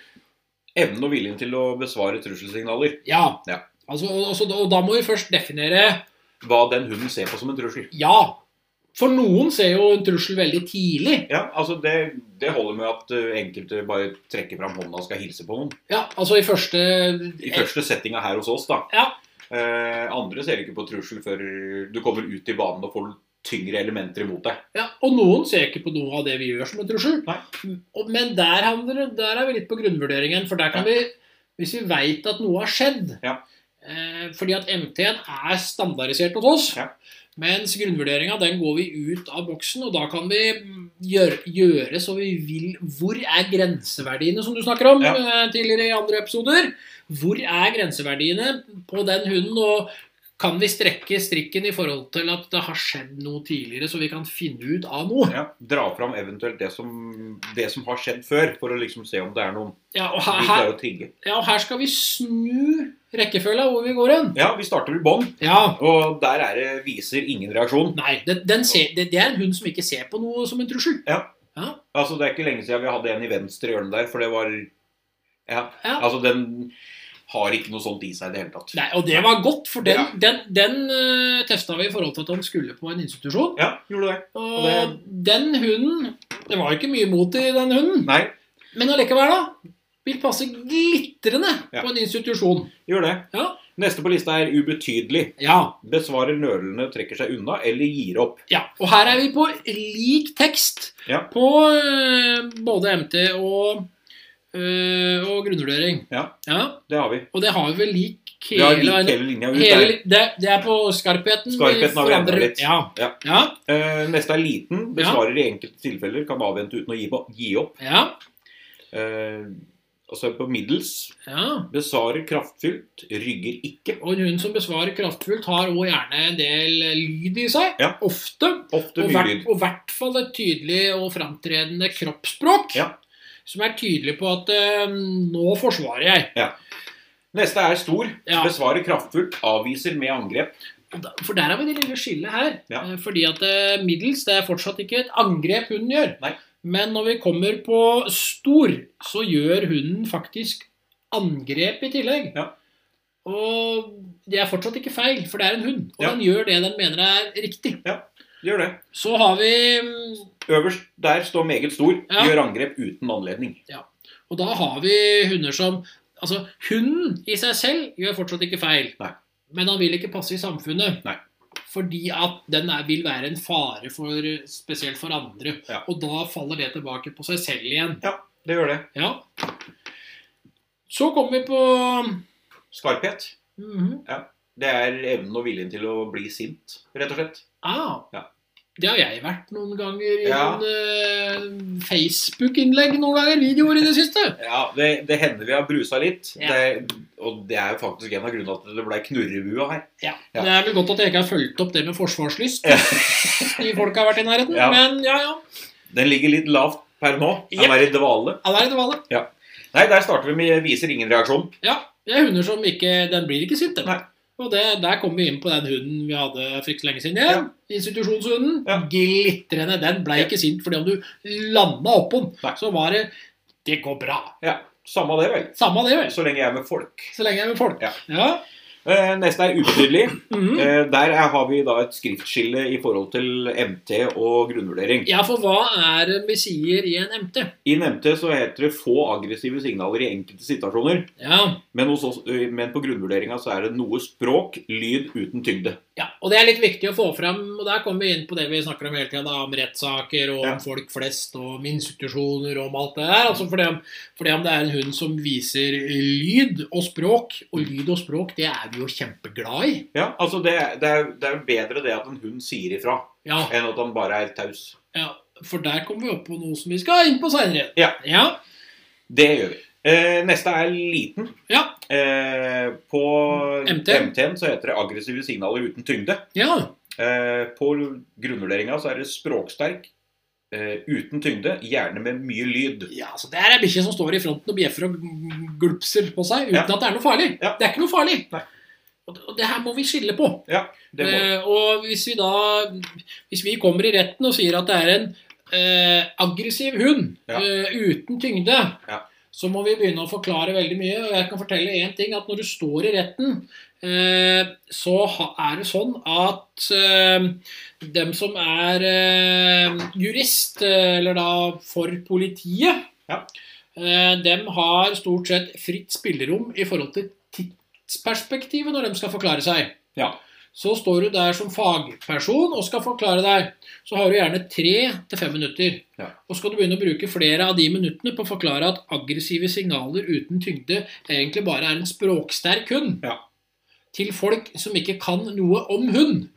Evnen og viljen til å besvare trusselsignaler. ja. Ja. Altså, og, og så- og da må vi først definere Hva den hunden ser på som en trussel. ja. For noen ser jo en trussel veldig tidlig. Ja, altså det, det holder med at eh, enkelte bare trekker fram hånda og skal hilse på noen. Ja, altså i første I første settinga her hos oss, da. Ja. Eh, andre ser ikke på trussel før du kommer ut i banen og får tyngre elementer imot deg. Ja, og noen ser ikke på noe av det vi gjør som en trussel. Nei. Og- Men der, handler, det- der er vi litt på grunnvurderingen. For der kan vi, hvis vi veit at noe har skjedd Ja. eh, Fordi at MT-en er standardisert hos oss. Ja. Mens grunnvurderinga den går vi ut av boksen, og da kan vi gjøre, gjøre så vi vil Hvor er grenseverdiene, som du snakker om Ja. eh, tidligere i andre episoder? Hvor er grenseverdiene på den hunden? og kan vi strekke strikken i forhold til at det har skjedd noe tidligere, så vi kan finne ut av noe? Ja. Dra fram eventuelt det som, det som har skjedd før, for å liksom se om det er noen Ja, og vi her, her, klarer å trigge. ja, og her skal vi snu rekkefølga hvor vi går hen. Ja, vi starter i bånn, Ja, og der er det viser ingen reaksjon. nei, det, den ser, det, det er en hund som ikke ser på noe som en trussel. Altså, Det er ikke lenge siden vi hadde en i venstre hjørne der, for det var Ja. Ja. Altså, den har ikke noe sånt i seg i det hele tatt. Nei, Og det var godt, for den, Ja. den, den eh, testa vi i forhold til at han skulle på en institusjon. Ja, gjorde det. Og det- den hunden Det var ikke mye mot i den hunden, Nei, men allikevel, da. Vil passe glitrende Ja. på en institusjon. gjør det. Ja. Neste på lista er ubetydelig. Ja. Besvarer nølende, trekker seg unna eller gir opp. Ja, og her er vi på lik tekst Ja. på eh, både MT og øh, og grunnvurdering. Ja. ja. Det har vi. Og det har vi vel lik Vi har hele lik veien. hele linja ut der. Hele, det, det er på skarpheten. vi Skarpheten har vi forandrer- endret litt. Ja. Ja. Ja. Eh, neste er liten. Besvarer i enkelte tilfeller. Kan avvente uten å gi, gi opp. ja. Eh, og så er det på middels. ja. Besvarer kraftfylt. Rygger ikke. Og en hund som besvarer kraftfullt, har også gjerne en del lyd i seg. Ja. Ofte. Ofte Og mye hvert, lyd. og hvert fall et tydelig og framtredende kroppsspråk. Ja. Som er tydelig på at eh, 'nå forsvarer jeg'. Neste er stor. Ja. Besvarer kraftfullt. Avviser med angrep. Og da- For der har vi det lille skillet her. Ja. Eh, Fordi at eh, middels det er fortsatt ikke et angrep hunden gjør. Nei. Men når vi kommer på stor, så gjør hunden faktisk angrep i tillegg. Ja. Og det er fortsatt ikke feil, for det er en hund. Og Ja. den gjør det den mener er riktig. Gjør det. Så har vi mm, Øverst der står meget stor. Ja. Gjør angrep uten anledning. Og da har vi hunder som Altså, hunden i seg selv gjør fortsatt ikke feil. Nei. Men han vil ikke passe i samfunnet. Nei. Fordi at den er, vil være en fare for, spesielt for andre. Ja. Og da faller det tilbake på seg selv igjen. Det gjør det. Ja. Så kommer vi på Skarphet. Mhm. Det er evnen og viljen til å bli sint, rett og slett. ah, Ja. Det har jeg vært noen ganger i Ja. noen eh, Facebook-innlegg, noen ganger videoer i det siste. Ja, Det, det hender vi har brusa litt. Ja. Det, og det er jo faktisk en av grunnene til at det ble knurrebua her. Ja. Ja. Det er vel godt at jeg ikke har fulgt opp det med forsvarslyst. Ja. De folka har vært i nærheten. Ja. Men ja, ja. Den ligger litt lavt per nå. Den Jep. er i dvale. Alle er i dvale. Nei, der starter vi med 'viser ingen reaksjon'. Ja. Det er hunder som ikke Den blir ikke sint, den. Nei. Og det, der kom vi inn på den hunden vi hadde fryktelig lenge siden igjen. Institusjonshunden. Ja. Glitrende. Den ble Ja. ikke sint, fordi om du landa oppå Nei. den, så var det Det går bra. Ja, Samme det, vel. Samme det, vel. Så lenge jeg er med folk. Så lenge jeg er med folk. Ja. ja. Eh, neste er ubetydelig. Mhm. Eh, der er, har vi da et skriftskille i forhold til MT og grunnvurdering. ja, for hva er det vi sier i en MT? I nevnte så heter det få aggressive signaler i enkelte situasjoner. Ja. Men, hos oss, eh, men på grunnvurderinga så er det noe språk, lyd uten tyngde. Ja, og det er litt viktig å få fram, og der kommer vi inn på det vi snakker om hele tida, om rettssaker og Ja. om folk flest og om institusjoner og om alt det der. Altså for det, om, for det om det er en hund som viser lyd og språk, og lyd og språk, det er vi jo kjempeglad i. Ja, altså det, er- det, er, det er bedre det at en hund sier ifra, Ja, enn at han bare er taus. ja for der kommer vi opp på noe som vi skal inn på seinere. Ja. ja. Det gjør vi. Eh, neste er liten. Ja. Eh, på MT. MT-en så heter det aggressive signaler uten tyngde. Ja. Eh, på grunnvurderinga så er det språksterk. Eh, uten tyngde, gjerne med mye lyd. ja så det er ei bikkje som står i fronten og bjeffer og gulpser på seg uten Ja. at det er noe farlig. Ja. Det er ikke noe farlig. Nei. Og det- Og det her må vi skille på. Det må. Eh, og hvis vi da Hvis vi kommer i retten og sier at det er en eh, aggressiv hund Ja. eh, uten tyngde, Ja. så må vi begynne å forklare veldig mye. Og jeg kan fortelle én ting, at når du står i retten, eh, så ha, er det sånn at eh, dem som er eh, jurist, eh, eller da for politiet, Ja. eh, dem har stort sett fritt spillerom i forhold til tidsperspektivet når de skal forklare seg. Ja. Så står du der som fagperson og skal forklare deg. Så har du gjerne tre til fem minutter. Ja. Og skal du begynne å bruke flere av de minuttene på å forklare at aggressive signaler uten tyngde egentlig bare er en språksterk hund Ja. til folk som ikke kan noe om hund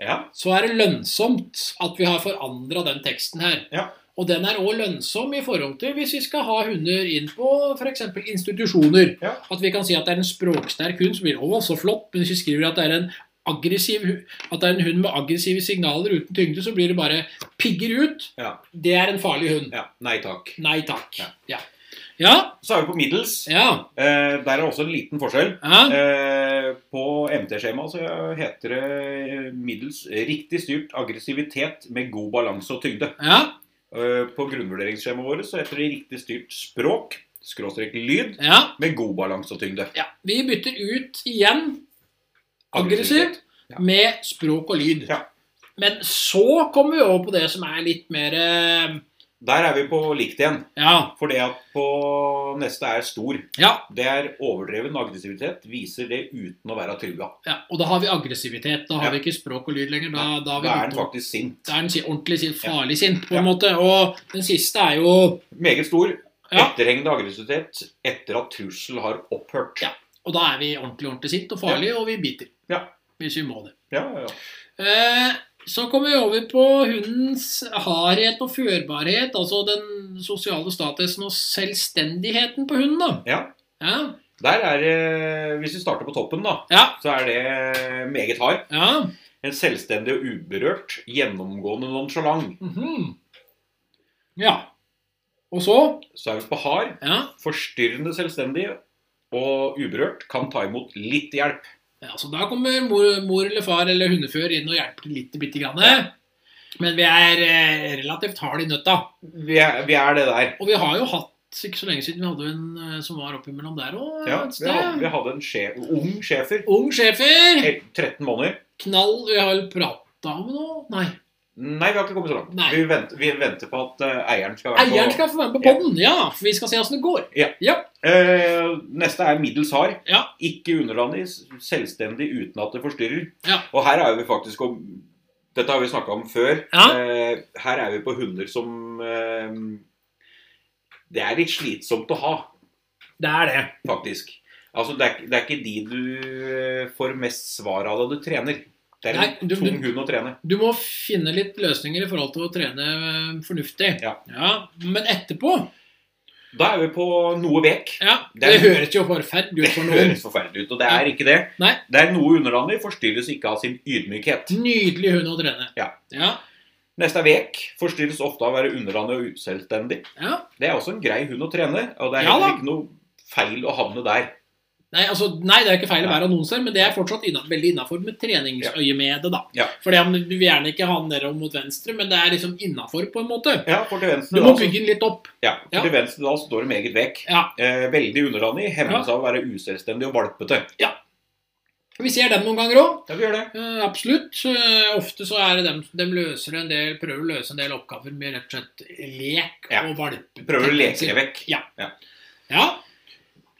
ja. så er det lønnsomt at vi har forandra den teksten her. Ja. Og den er òg lønnsom i forhold til hvis vi skal ha hunder inn på f.eks. institusjoner. Ja. At vi kan si at det er en språksterk hund som blir å, så flott, men hvis vi skriver at det er en aggressiv, hu- at det er en hund med aggressive signaler uten tyngde, så blir det bare pigger ut. Ja. Det er en farlig hund. ja. Nei takk. Nei takk. Ja. Ja. Ja. Så er vi på middels. ja. Eh, der er også en liten forskjell. ja. Eh, på MT-skjemaet så heter det middels riktig styrt aggressivitet med god balanse og tyngde. ja. Eh, på grunnvurderingsskjemaet vårt så heter det riktig styrt språk, skråstrek lyd, ja. med god balanse og tyngde. ja. Vi bytter ut igjen aggressivt Ja. med språk og lyd. Ja. Men så kommer vi over på det som er litt mer eh, Der er vi på likt igjen. Ja. For det at på neste er stor. ja, Det er overdreven aggressivitet. Viser det uten å være trua. ja. Og da har vi aggressivitet. Da har Ja. vi ikke språk og lyd lenger. Da, da Da har vi er den gått over- faktisk sint. da er den si- ordentlig sin- Ja. farlig sint, på Ja. en måte. Og den siste er jo Meget stor. Ja. Etterhengende aggressivitet etter at trussel har opphørt. Ja. Og da er vi ordentlig ordentlig sint og farlige, og vi biter. Ja. Hvis vi må det. Ja, ja, ja. Eh, Så kommer vi over på hundens hardhet og førbarhet, altså den sosiale statusen og selvstendigheten på hunden. da. ja. Ja, Der er det Hvis vi starter på toppen, da, ja, så er det eh, meget hard. ja. En selvstendig og uberørt, gjennomgående nonchalant. mhm. ja. Og så Så er vi på hard, ja. forstyrrende selvstendig og uberørt, kan ta imot litt hjelp. ja, så da kommer mor, mor eller far eller hundefører inn og hjelper til lite bitte grann. Men vi er eh, relativt harde i nøtta. Vi er, vi er det der. Og vi har jo hatt ikke så lenge siden vi hadde en eh, som var oppimellom der òg Ja, et vi hadde, sted. vi hadde en sje, ung schæfer. Ung schæfer. helt 13 måneder. Knall. Vi har vel prata om det nå? Nei. Nei, vi har ikke kommet så langt. Nei. Vi venter, vi venter på at eh, eieren skal være Eieren på skal få være med på podden, ja. For vi skal se åssen det går. Eh, neste er middels hard. Ja. Ikke underlandig, selvstendig uten at det forstyrrer. Ja. Og her er vi faktisk om Dette har vi snakka om før. Ja. Eh, her er vi på hunder som eh, Det er litt slitsomt å ha, Det er det. faktisk. Altså, det er, ikke- det er ikke de du eh, får mest svar av da du trener. Det er en Nei, du- tung du- hund å trene. Du må finne litt løsninger i forhold til å trene eh, fornuftig. Ja. Men etterpå Da er vi på noe vekk. ja, Det Det, er- høres jo forferdelig ut Det for noen. høres forferdelig ut, og det er ikke det. Nei. Det er noe underlandig, forstyrres ikke av sin ydmykhet. Nydelig hund å trene. Ja. ja. Neste er vek. Forstyrres ofte av å være underlandig og uselvstendig. ja. Det er også en grei hund å trene, og det er Ja heller da. ikke noe feil å havne der. Nei, altså, nei, det er ikke feil å Nei. være annonser, men det er fortsatt innan, veldig innafor med treningsøyemedet. da. Ja. For du vil gjerne ikke ha den nedover mot venstre, men det er liksom innafor, på en måte. Ja, for til Du venstre da, må så, bygge den litt opp. ja, for Ja. til venstre da står det meget vekk. Ja. Eh, veldig underlandig, hemmes av å være uselvstendig og valpete. Vi ser den noen ganger òg. Ja, vi gjør det. Eh, absolutt. Eh, ofte så er det dem de løser en del, prøver å løse en del oppgaver med rett og slett lek Ja. og valpe. Prøver å leke det vekk. Ja.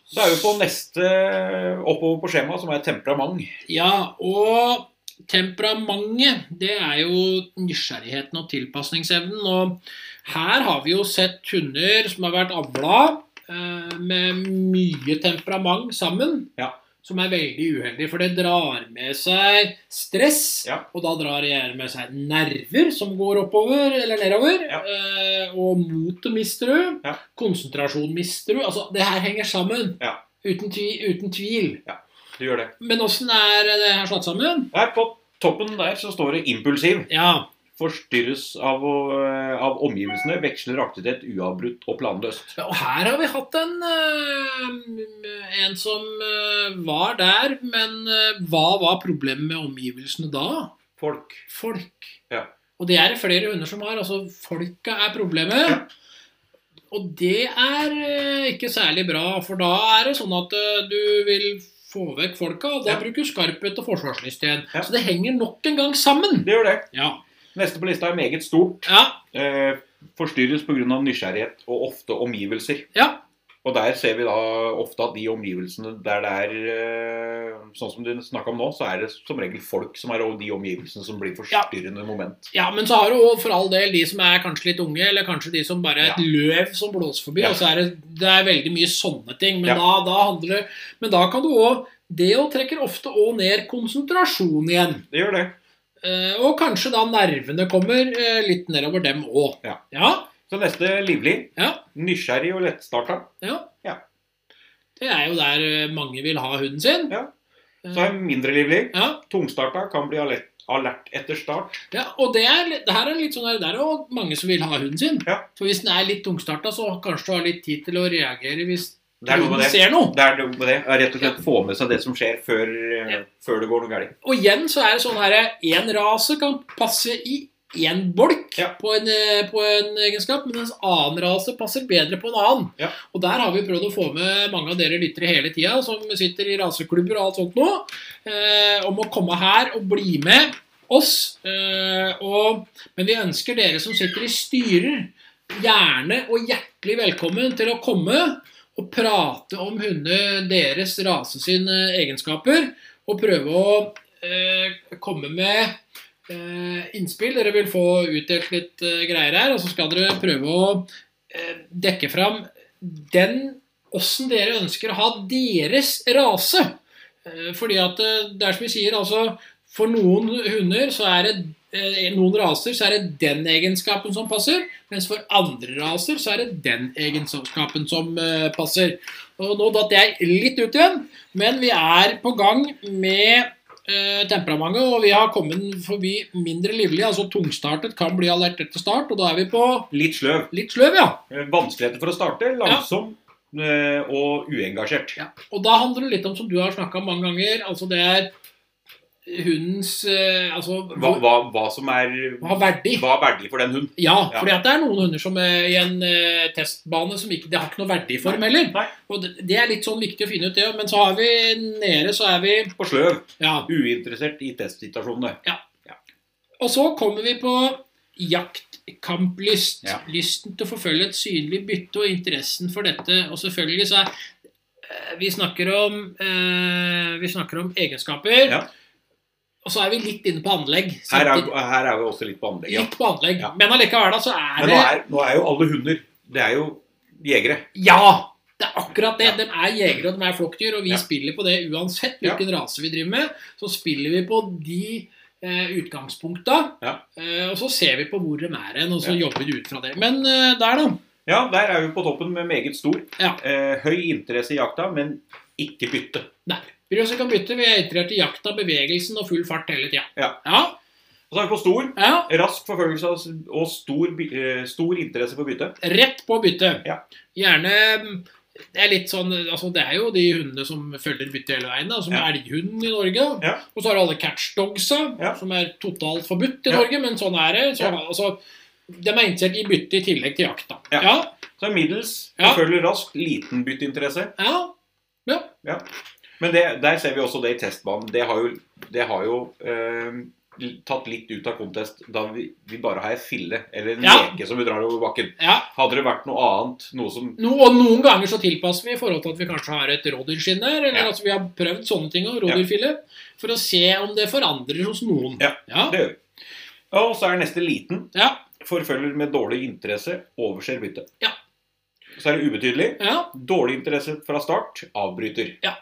Så er vi på neste oppover på skjemaet, som er temperament. ja, og temperamentet, det er jo nysgjerrigheten og tilpasningsevnen. Og her har vi jo sett hunder som har vært avla eh, med mye temperament sammen. Ja. Som er veldig uheldig, for det drar med seg stress. Ja. Og da drar gjerne med seg nerver som går oppover eller nedover. Ja. Eh, og motet mister du. Ja. Konsentrasjon mister du. Altså, det her henger sammen. Ja. Uten, tvi, uten tvil. Du gjør det. Men åssen er det her slått sammen? Her på toppen der så står det impulsiv. Ja. Forstyrres av, å- av omgivelsene, veksler aktivitet uavbrutt og planløst. Og her har vi hatt en eh, En som eh, var der, men eh, hva var problemet med omgivelsene da? Folk. Folk. Ja. Og det er det flere hunder som har. Altså, folka er problemet. Ja. Og det er eh, ikke særlig bra, for da er det sånn at eh, du vil få vekk folka, og da Ja. bruker du skarphet og forsvarslyst igjen. Ja. Så det henger nok en gang sammen. Det gjør det. Ja. Neste på lista er meget stort. Ja. Eh, forstyrres pga. nysgjerrighet og ofte omgivelser. ja. Og der ser vi da ofte at de omgivelsene der det er eh, Sånn som du snakka om nå, så er det som regel folk som er de omgivelsene som blir forstyrrende moment. Ja, men så har du òg for all del de som er kanskje litt unge, eller kanskje de som bare er et løv som blåser forbi. Ja. og så er det, det er veldig mye sånne ting. Men, Ja. da, da handler det, men da kan du òg Det òg trekker ofte òg ned konsentrasjon igjen. Det gjør det. Eh, og kanskje da nervene kommer eh, litt nedover dem òg. Ja. ja. Så neste livlig. Ja. Nysgjerrig og lettstarta. Ja. Det er jo der eh, mange vil ha hunden sin. Ja. Så Eh, er mindre livlig. ja. Tungstarta kan bli alert, alert etter start. Ja, og det, er, litt- det her er litt sånn der, det er jo mange som vil ha hunden sin. Ja. For hvis den er litt tungstarta, så kanskje du har litt tid til å reagere hvis Det er noe med hunden det. ser noe. Det er noe med det. Rett og slett få med seg det som skjer, før, eh, Ja. før det går noe galt. Og igjen så er det sånn her Én rase kan passe i én bolk Ja. på, en, eh, på en egenskap, mens en annen rase passer bedre på en annen. Ja. Og der har vi prøvd å få med mange av dere lyttere hele tida, som sitter i raseklubber og alt sånt nå, eh, om å komme her og bli med oss. Eh, og, men vi ønsker dere som sitter i styrer, gjerne og hjertelig velkommen til å komme og prate om hunde deres rase sine egenskaper, og prøve å eh, komme med eh, innspill. Dere vil få utdelt litt eh, greier her, og så skal dere prøve å eh, dekke fram den Åssen dere ønsker å ha deres rase. Eh, Fordi at eh, det er som vi sier, altså For noen hunder så er det eh, noen raser så er det den egenskapen som passer, mens for andre raser så er det den egenskapen som eh, passer. Og Nå datt jeg litt ut igjen, men vi er på gang med eh, temperamentet, og vi har kommet forbi mindre livlig, altså tungstartet kan bli alert etter start, og da er vi på Litt sløv. litt sløv, ja. Eh, Vanskeligheter for å starte. Langsom eh, og uengasjert. Ja. Og da handler det litt om, som du har snakka om mange ganger, altså det er hundens eh, Altså Hva, hva, hva som er hva er verdi. Hva er verdig for den hunden? Ja, Ja. fordi at det er noen hunder som eh, i en eh, testbane som ikke, det har ikke noe verdi for dem heller. Nei, Og det, det er litt sånn viktig å finne ut det. Men så har vi nede, så er vi på sløv. Ja. Uinteressert i testsituasjonene. Og så kommer vi på jaktkamplyst. Ja. Lysten til å forfølge et synlig bytte og interessen for dette. Og selvfølgelig så er eh, Vi snakker om, eh, vi snakker om egenskaper. Ja. Og så er vi litt inne på anlegg. Her er, samtidig. her er vi også litt på anlegget. Litt på anlegg. Ja. Men allikevel da, så er Men nå det er, nå er jo alle hunder Det er jo jegere. Ja! Det er akkurat det. Ja. De er jegere og de er flokkdyr, og vi Ja. spiller på det uansett hvilken rase vi driver med. Så spiller vi på de eh, utgangspunkta, Ja. eh, og så ser vi på hvor de er hen, og så Ja. jobber vi ut fra det. Men eh, der, da. Ja, der er vi på toppen med meget stor. Ja. Eh, høy interesse i jakta, men ikke bytte. Nei. Bryr oss ikke om bytte. Vi er interessert i jakta, bevegelsen og full fart hele tida. Ja. Ja. Og så er vi på stor. ja. Rask forfølgelse av s- og stor, by- eh, stor interesse for bytte. Rett på bytte. Ja. Gjerne mm, det er litt sånn, altså det er jo de hundene som følger bytte hele veien, da, som Ja. er elghunden i Norge. da. Ja. Og så har du alle catchdogsa, Ja. som er totalt forbudt i Ja. Norge, men sånn er det. Så, Ja. altså, de er interessert i bytte i tillegg til jakta. Ja. Ja. Så er middels, Ja. forfølger raskt, liten bytteinteresse. ja. Men det, der ser vi også det i testbanen. Det har jo, det har jo eh, tatt litt ut av contest da vi, vi bare har ei fille eller en Ja. leke som vi drar over bakken. ja. Hadde det vært noe annet, noe som No, og noen ganger så tilpasser vi i forhold til at vi kanskje har et rådyrsskinn der, eller Ja. altså vi har prøvd sånne ting, og rådyrfille, for å se om det forandrer hos noen. Ja. ja. Det gjør vi. Og så er neste liten. Ja. Forfølger med dårlig interesse overser byttet. Ja. Så er det ubetydelig. ja. Dårlig interesse fra start avbryter. Ja.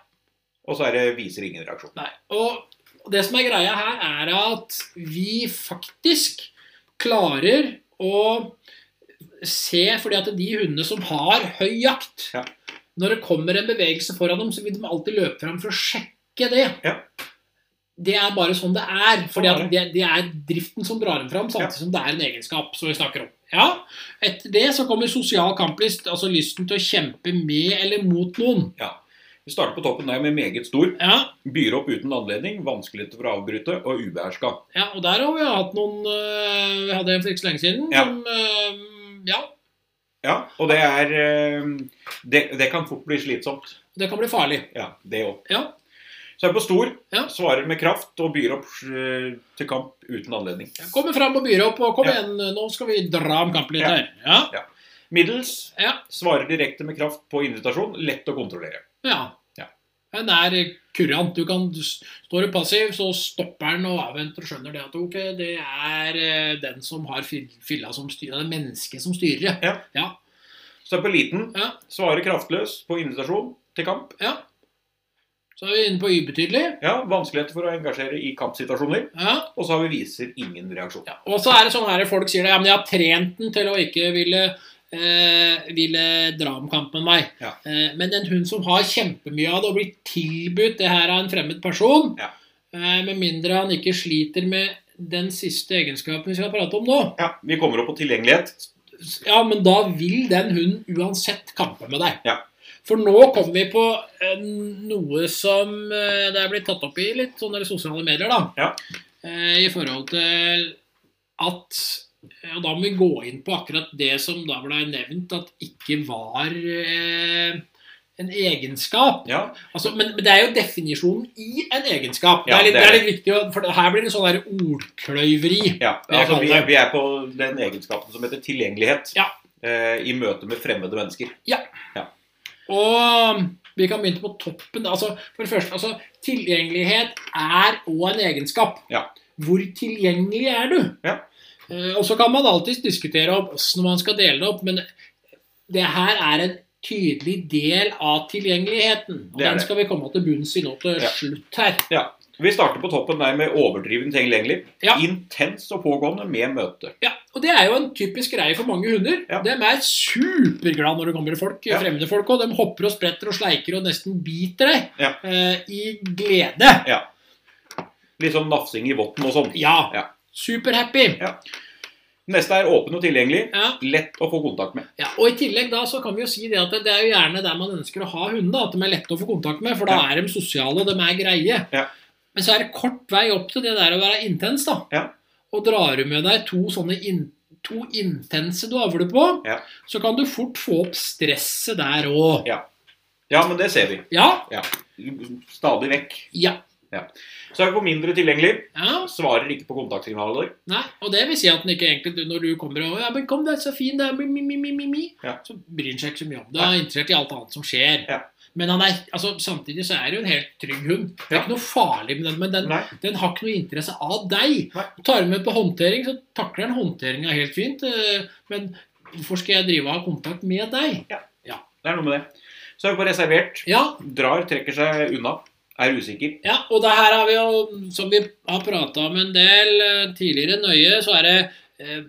Og så er det viser ingen reaksjon. Nei. Og det som er greia her, er at vi faktisk klarer å se Fordi at de hundene som har høy jakt Ja. Når det kommer en bevegelse foran dem, så vil de alltid løpe fram for å sjekke det. Ja. Det er bare sånn det er. Fordi Sånn at er det, det er driften som drar dem fram, Ja. samtidig som det er en egenskap som vi snakker om. Ja. Etter det så kommer sosial kamplyst, altså lysten til å kjempe med eller mot noen. Vi starter på toppen der med meget stor. Ja, Byr opp uten anledning, vanskeligheter for å avbryte og ubeherska. Ja, og der har vi hatt noen øh, Vi hadde en for ikke så lenge siden. Ja. Som, øh, ja, Ja, og det er eh, Det, det kan fort bli slitsomt. det kan bli farlig. Ja, det òg. Ja. Så er det på stor. Ja. Svarer med kraft og byr opp eh, til kamp uten anledning. Kommer fram og byr opp, og kom Ja. igjen, nå skal vi dra om kampen litt Ja. her. Ja. Middels. Ja. Svarer direkte med kraft på invitasjon. Lett å kontrollere. ja. Ja. Den er kurant. Du kan, står du passiv, så stopper den og avventer og skjønner det at ok, det er øh, den som har fil- filla som styrer, det er mennesket som styrer. Ja. Så er det på liten. Ja. Svarer kraftløs på invitasjon til kamp. Så er vi inne på ubetydelig. Ja, Vanskeligheter for å engasjere i kampsituasjoner. Ja. Og så har vi viser ingen reaksjon. Ja, og så er det sånn her folk sier det, ja, men jeg har trent den til å ikke ville, eh, ville dra om kamp med meg. Ja. Eh, men en hund som har kjempemye av det og blir tilbudt det her av en fremmed person, Ja. eh, med mindre han ikke sliter med den siste egenskapen vi skal prate om nå, Ja, Vi kommer opp på tilgjengelighet. ja, men da vil den hunden uansett kampe med deg. Ja. For nå kommer vi på eh, noe som eh, det er blitt tatt opp i litt sånne sosiale medier, da. Ja. Eh, I forhold til at eh, Og da må vi gå inn på akkurat det som da ble nevnt, at ikke var eh, en egenskap. Ja, Altså, men, men det er jo definisjonen i en egenskap. Ja, det, er litt, det det er er litt viktig, å- for her blir det sånn der ordkløyveri. ja. Vil jeg Altså, vi, kalle det. vi er på den egenskapen som heter tilgjengelighet Ja. eh, i møte med fremmede mennesker. Og vi kan begynne på toppen. Altså, for det første, altså, Tilgjengelighet er òg en egenskap. Ja. Hvor tilgjengelig er du? Ja. Eh, Og så kan man alltids diskutere om hvordan man skal dele det opp, men det her er en tydelig del av tilgjengeligheten. Og Det er den det. skal vi komme til bunns i nå til Ja. slutt her. Vi starter på toppen der med overdriven tilgjengelig. Ja. Intenst og pågående med møte. Ja, og Det er jo en typisk greie for mange hunder. Ja. De er superglade når det kommer folk, Ja. fremmede folk. Og de hopper og spretter og sleiker og nesten biter deg Ja. eh, i glede. Litt sånn nafsing i votten og sånn. Ja. Ja. Superhappy. Neste er åpen og tilgjengelig. Ja. Lett å få kontakt med. Ja, og I tillegg da så kan vi jo si det at det er jo gjerne der man ønsker å ha hunder. At de er lette å få kontakt med, for da er de sosiale og de er greie. Ja. Men så er det kort vei opp til det der å være intens. da. Ja. Og drar du med deg to sånne in to intense du avler på, Ja. så kan du fort få opp stresset der òg. Ja, men det ser vi. Ja. Stadig vekk. ja. Så er vi på mindre tilgjengelig. Ja. Svarer ikke på kontaktsignaler. Nei. Og det vil si at den ikke egentlig Når du kommer og 'Ja, men kom, det er så fin, det er mi, mi, mi, mi, mi, mi', Ja. så bryr han seg ikke så mye om det. Han er interessert i alt annet som skjer. Ja. Men han er, altså, samtidig så er det jo en helt trygg hund. Det er Ja. ikke noe farlig med den, men den, Nei. den har ikke noe interesse av deg. Nei. Tar du med på håndtering, så takler den håndteringa helt fint. eh, Men hvorfor skal jeg drive og ha kontakt med deg? Det er noe med det. Så er vi på reservert. Ja, Drar, trekker seg unna. Er usikker. Ja, og det her har vi jo, som vi har prata om en del eh, tidligere nøye, så er det eh,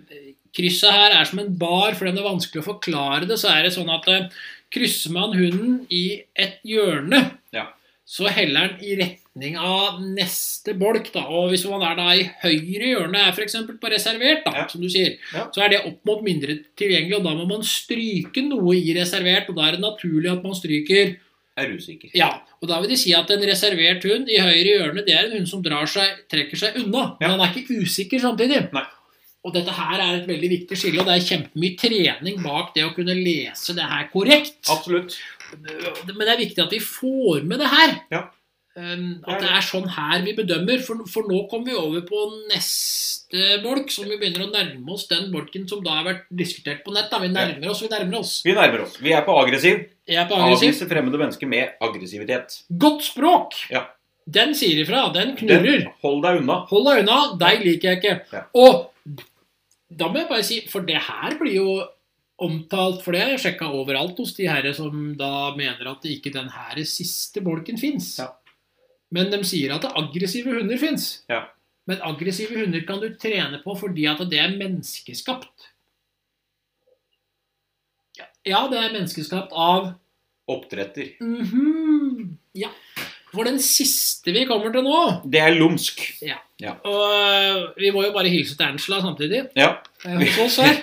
Krysset her er som en bar, for den er vanskelig å forklare det. Så er det sånn at eh, krysser man hunden i et hjørne, Ja. så heller den i retning av neste bolk. da, Og hvis man er da i høyre hjørne, er f.eks. på reservert, da, Ja. som du sier, Ja. så er det opp mot mindre tilgjengelig, og da må man stryke noe i reservert. Og da er det naturlig at man stryker Er usikker. ja, og da vil de si at en reservert hund i høyre hjørne, det er en hund som drar seg, trekker seg unna. Men Ja. han er ikke usikker samtidig. Nei. Og dette her er et veldig viktig skille, og det er kjempemye trening bak det å kunne lese det her korrekt. Absolutt. Men det er viktig at vi får med det her. Ja. Um, Det er at det er sånn her vi bedømmer, for, for nå kommer vi over på neste bolk, som vi begynner å nærme oss den bolken som da har vært diskutert på nett. Da. Vi nærmer oss, vi nærmer oss. Vi nærmer oss. Vi er på aggressiv. Jeg er på aggressiv. Avvise fremmede mennesker med aggressivitet. Godt språk! Ja. Den sier ifra, den Den, knurrer. hold deg unna. Hold deg unna, deg liker jeg ikke. Ja. Og da må jeg bare si, for det her blir jo omtalt, for det har jeg sjekka overalt hos de herre som da mener at ikke den her siste bolken fins. Ja. Men de sier at aggressive hunder fins. Ja. Men aggressive hunder kan du trene på fordi at det er menneskeskapt. Ja, Ja, det er menneskeskapt av Oppdretter. Mhm. Ja. For den siste vi kommer til nå, Det er lumsk. og eh, vi må jo bare hilse til Angela samtidig. Ja. eh, Hos oss her.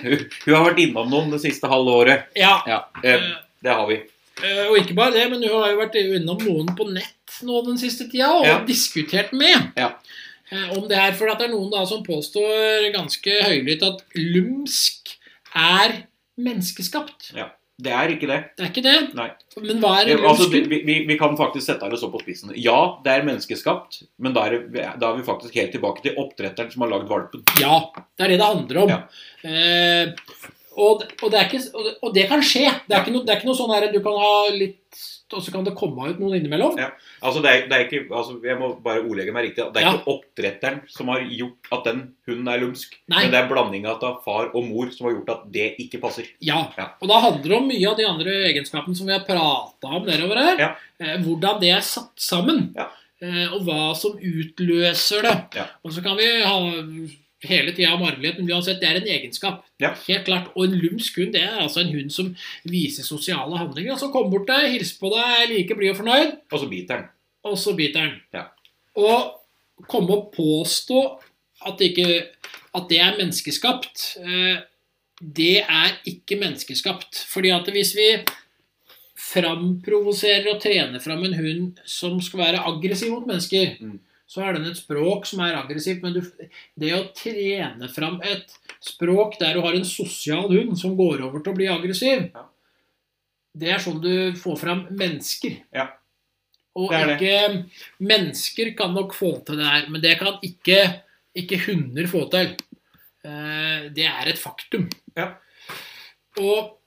Hun har vært innom noen det siste halve året. Ja. Ja, eh, eh, det har vi. eh, Og ikke bare det, men hun har jo vært innom noen på nett nå den siste tida og Ja. diskutert med Ja. eh, om det her. For at det er noen da som påstår ganske høylytt at lumsk er menneskeskapt. Det er ikke det. Det er ikke det. Nei. Men hva er det altså, lumsken? det- vi, vi, vi kan faktisk sette det så på spissen. Ja, det er menneskeskapt, men da er, det, da er vi faktisk helt tilbake til oppdretteren som har lagd valpen. Ja, det er det det handler om. Ja. Eh, og, og, det er ikke, og, det, og det kan skje. Det er, ikke noe, det er ikke noe sånn her du kan ha litt Og så kan det komme ut noen innimellom. Ja. Altså, det er, det er ikke, altså, jeg må bare ordlegge meg riktig. Det er ikke oppdretteren som har gjort at den hunden er lumsk, Nei. men det er blandinga av far og mor som har gjort at det ikke passer. Ja. Ja. Og da handler det om mye av de andre egenskapene som vi har prata om nedover her. Ja. Eh, hvordan det er satt sammen. Ja. Eh, og hva som utløser det. Ja. Og så kan vi ha hele tida om arvelighet, men uansett, det er en egenskap. Ja. Helt klart. Og en lumsk hund det er altså en hund som viser sosiale handlinger. Altså kom bort til deg, hils på deg, er like blid og fornøyd. Og så biter den. og så biter den. Ja. Og komme og påstå at det, ikke, at det er menneskeskapt, eh, det er ikke menneskeskapt. Fordi at hvis vi framprovoserer og trener fram en hund som skal være aggressiv mot mennesker, Mm. så er den et språk som er aggressivt. Men du, det å trene fram et språk der du har en sosial hund som går over til å bli aggressiv, Ja. det er sånn du får fram mennesker. Ja. Og Det er det. ikke Mennesker kan nok få til det her, men det kan ikke, ikke hunder få til. Eh, Det er et faktum. Ja. Og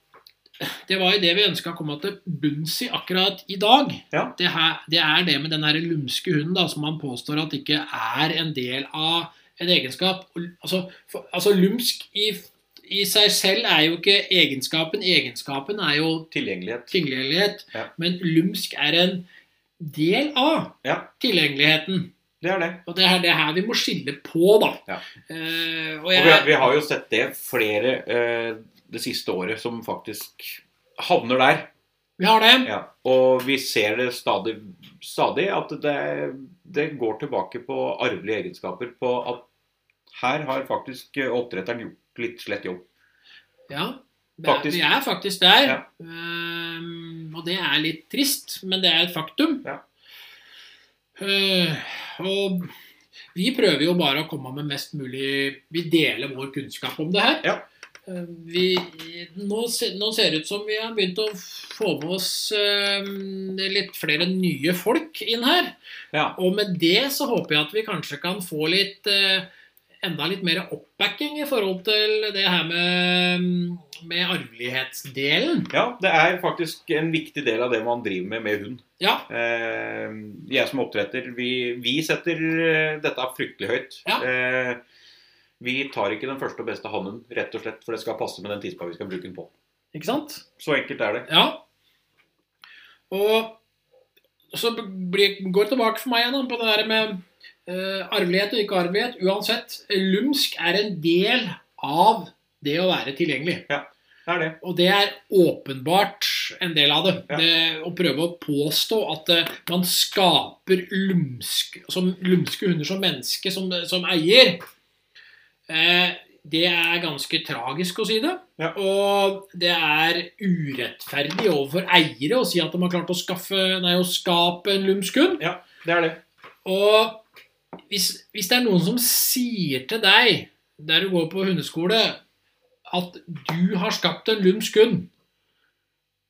det var jo det vi ønska å komme til bunns i akkurat i dag. Ja. Det, her, det er det med den her lumske hunden da, som man påstår at ikke er en del av en egenskap. Og- Altså, for, altså lumsk i, i seg selv er jo ikke egenskapen. Egenskapen er jo Tilgjengelighet. tilgjengelighet. Ja. Men lumsk er en del av Ja, tilgjengeligheten. det er det. Og det er det her vi må skille på, da. Ja. Eh, og Og jeg, vi, vi har jo sett det flere eh, det siste året som faktisk havner der. vi har det. Ja. Og vi ser det stadig, stadig at det, det går tilbake på arvelige egenskaper. På at her har faktisk eh, oppdretteren gjort litt slett jobb. Ja, det er, Faktisk. vi er faktisk der. Ja. Ehm, og det er litt trist, men det er et faktum. Ja. Eh, og vi prøver jo bare å komme med mest mulig Vi deler vår kunnskap om det her. Ja. Eh, Vi, nå, se- nå ser det ut som vi har begynt å få med oss eh, litt flere nye folk inn her. Ja. Og med det så håper jeg at vi kanskje kan få litt eh, enda litt mer oppbacking i forhold til det her med, med arvelighetsdelen. ja, det er faktisk en viktig del av det man driver med med hund. Ja, Eh, jeg som oppdretter, vi, vi setter eh, dette fryktelig høyt. Ja. Eh, vi tar ikke den første og beste hannen, rett og slett, for det skal passe med den tispa vi skal bruke den på. ikke sant? Så enkelt er det. Ja. Og så blir, går det tilbake for meg igjen da, på det der med eh, arvelighet og ikke arvelighet. Uansett, lumsk er en del av det å være tilgjengelig. Det er det. Og det er åpenbart en del av det. Ja. det å prøve å påstå at eh, man skaper lumsk, som, lumske hunder som menneske, som, som eier, eh, det er ganske tragisk å si det. Ja. Og det er urettferdig overfor eiere å si at de har klart å, skaffe, nei, å skape en lumsk hund. Det er det. Og hvis, hvis det er noen som sier til deg der du går på hundeskole, at du har skapt en lumsk hund,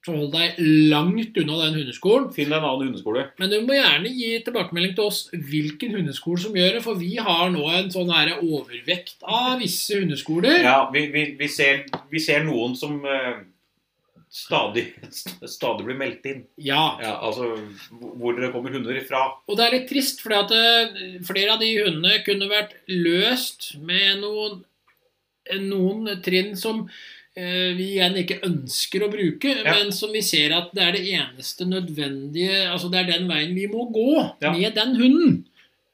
så hold deg langt unna den hundeskolen. Finn deg en annen hundeskole. Men du må gjerne gi tilbakemelding til oss hvilken hundeskole som gjør det, for vi har nå en sånn her overvekt av visse hundeskoler. Ja, vi, vi, vi, ser, vi ser noen som eh, stadig, stadig blir meldt inn. ja. Ja, altså hvor hvor det kommer hunder ifra. Og det er litt trist, fordi at eh, flere av de hundene kunne vært løst med noen, eh, noen trinn som eh, vi igjen ikke ønsker å bruke, Ja. men som vi ser at det er det eneste nødvendige Altså det er den veien vi må gå Ja. med den hunden.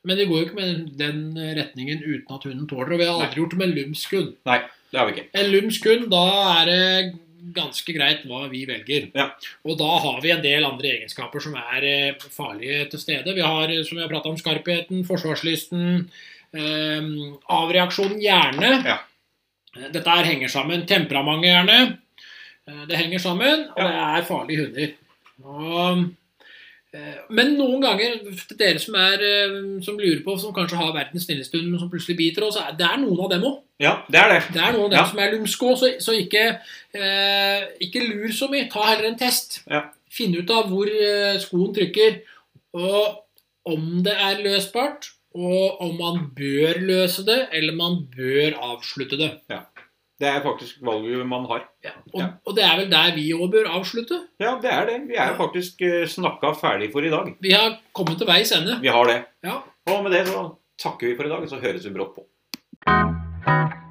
Men vi går jo ikke med den retningen uten at hunden tåler det. Og vi har aldri gjort det med en lumsk hund. Det har vi ikke. En lumsk hund, da er det ganske greit hva vi velger. Ja. Og da har vi en del andre egenskaper som er eh, farlige til stede. Vi har, eh, som vi har prata om, skarpheten, forsvarslysten, eh, avreaksjonen gjerne. Ja. Eh, Dette her henger sammen. Temperamentet gjerne. Eh, Det henger sammen, og Ja. det er farlige hunder. Og, eh, men noen ganger, til dere som, er, eh, som lurer på, som kanskje har verdens snilleste hund, men som plutselig biter oss, det er noen av dem òg. Ja, det er det. Det er noen av dem Ja. som er lumske òg, så, så ikke, eh, ikke lur så mye. Ta heller en test. Ja. Finn ut av hvor eh, skoen trykker, og om det er løsbart, og om man bør løse det, eller man bør avslutte det. Det er faktisk valget man har. Og, Ja. og det er vel der vi òg bør avslutte. Ja, det er det. Vi er faktisk eh, snakka ferdig for i dag. Vi har kommet til veis ende. Vi har det. Ja. Og med det så takker vi for i dag, så høres vi brått på.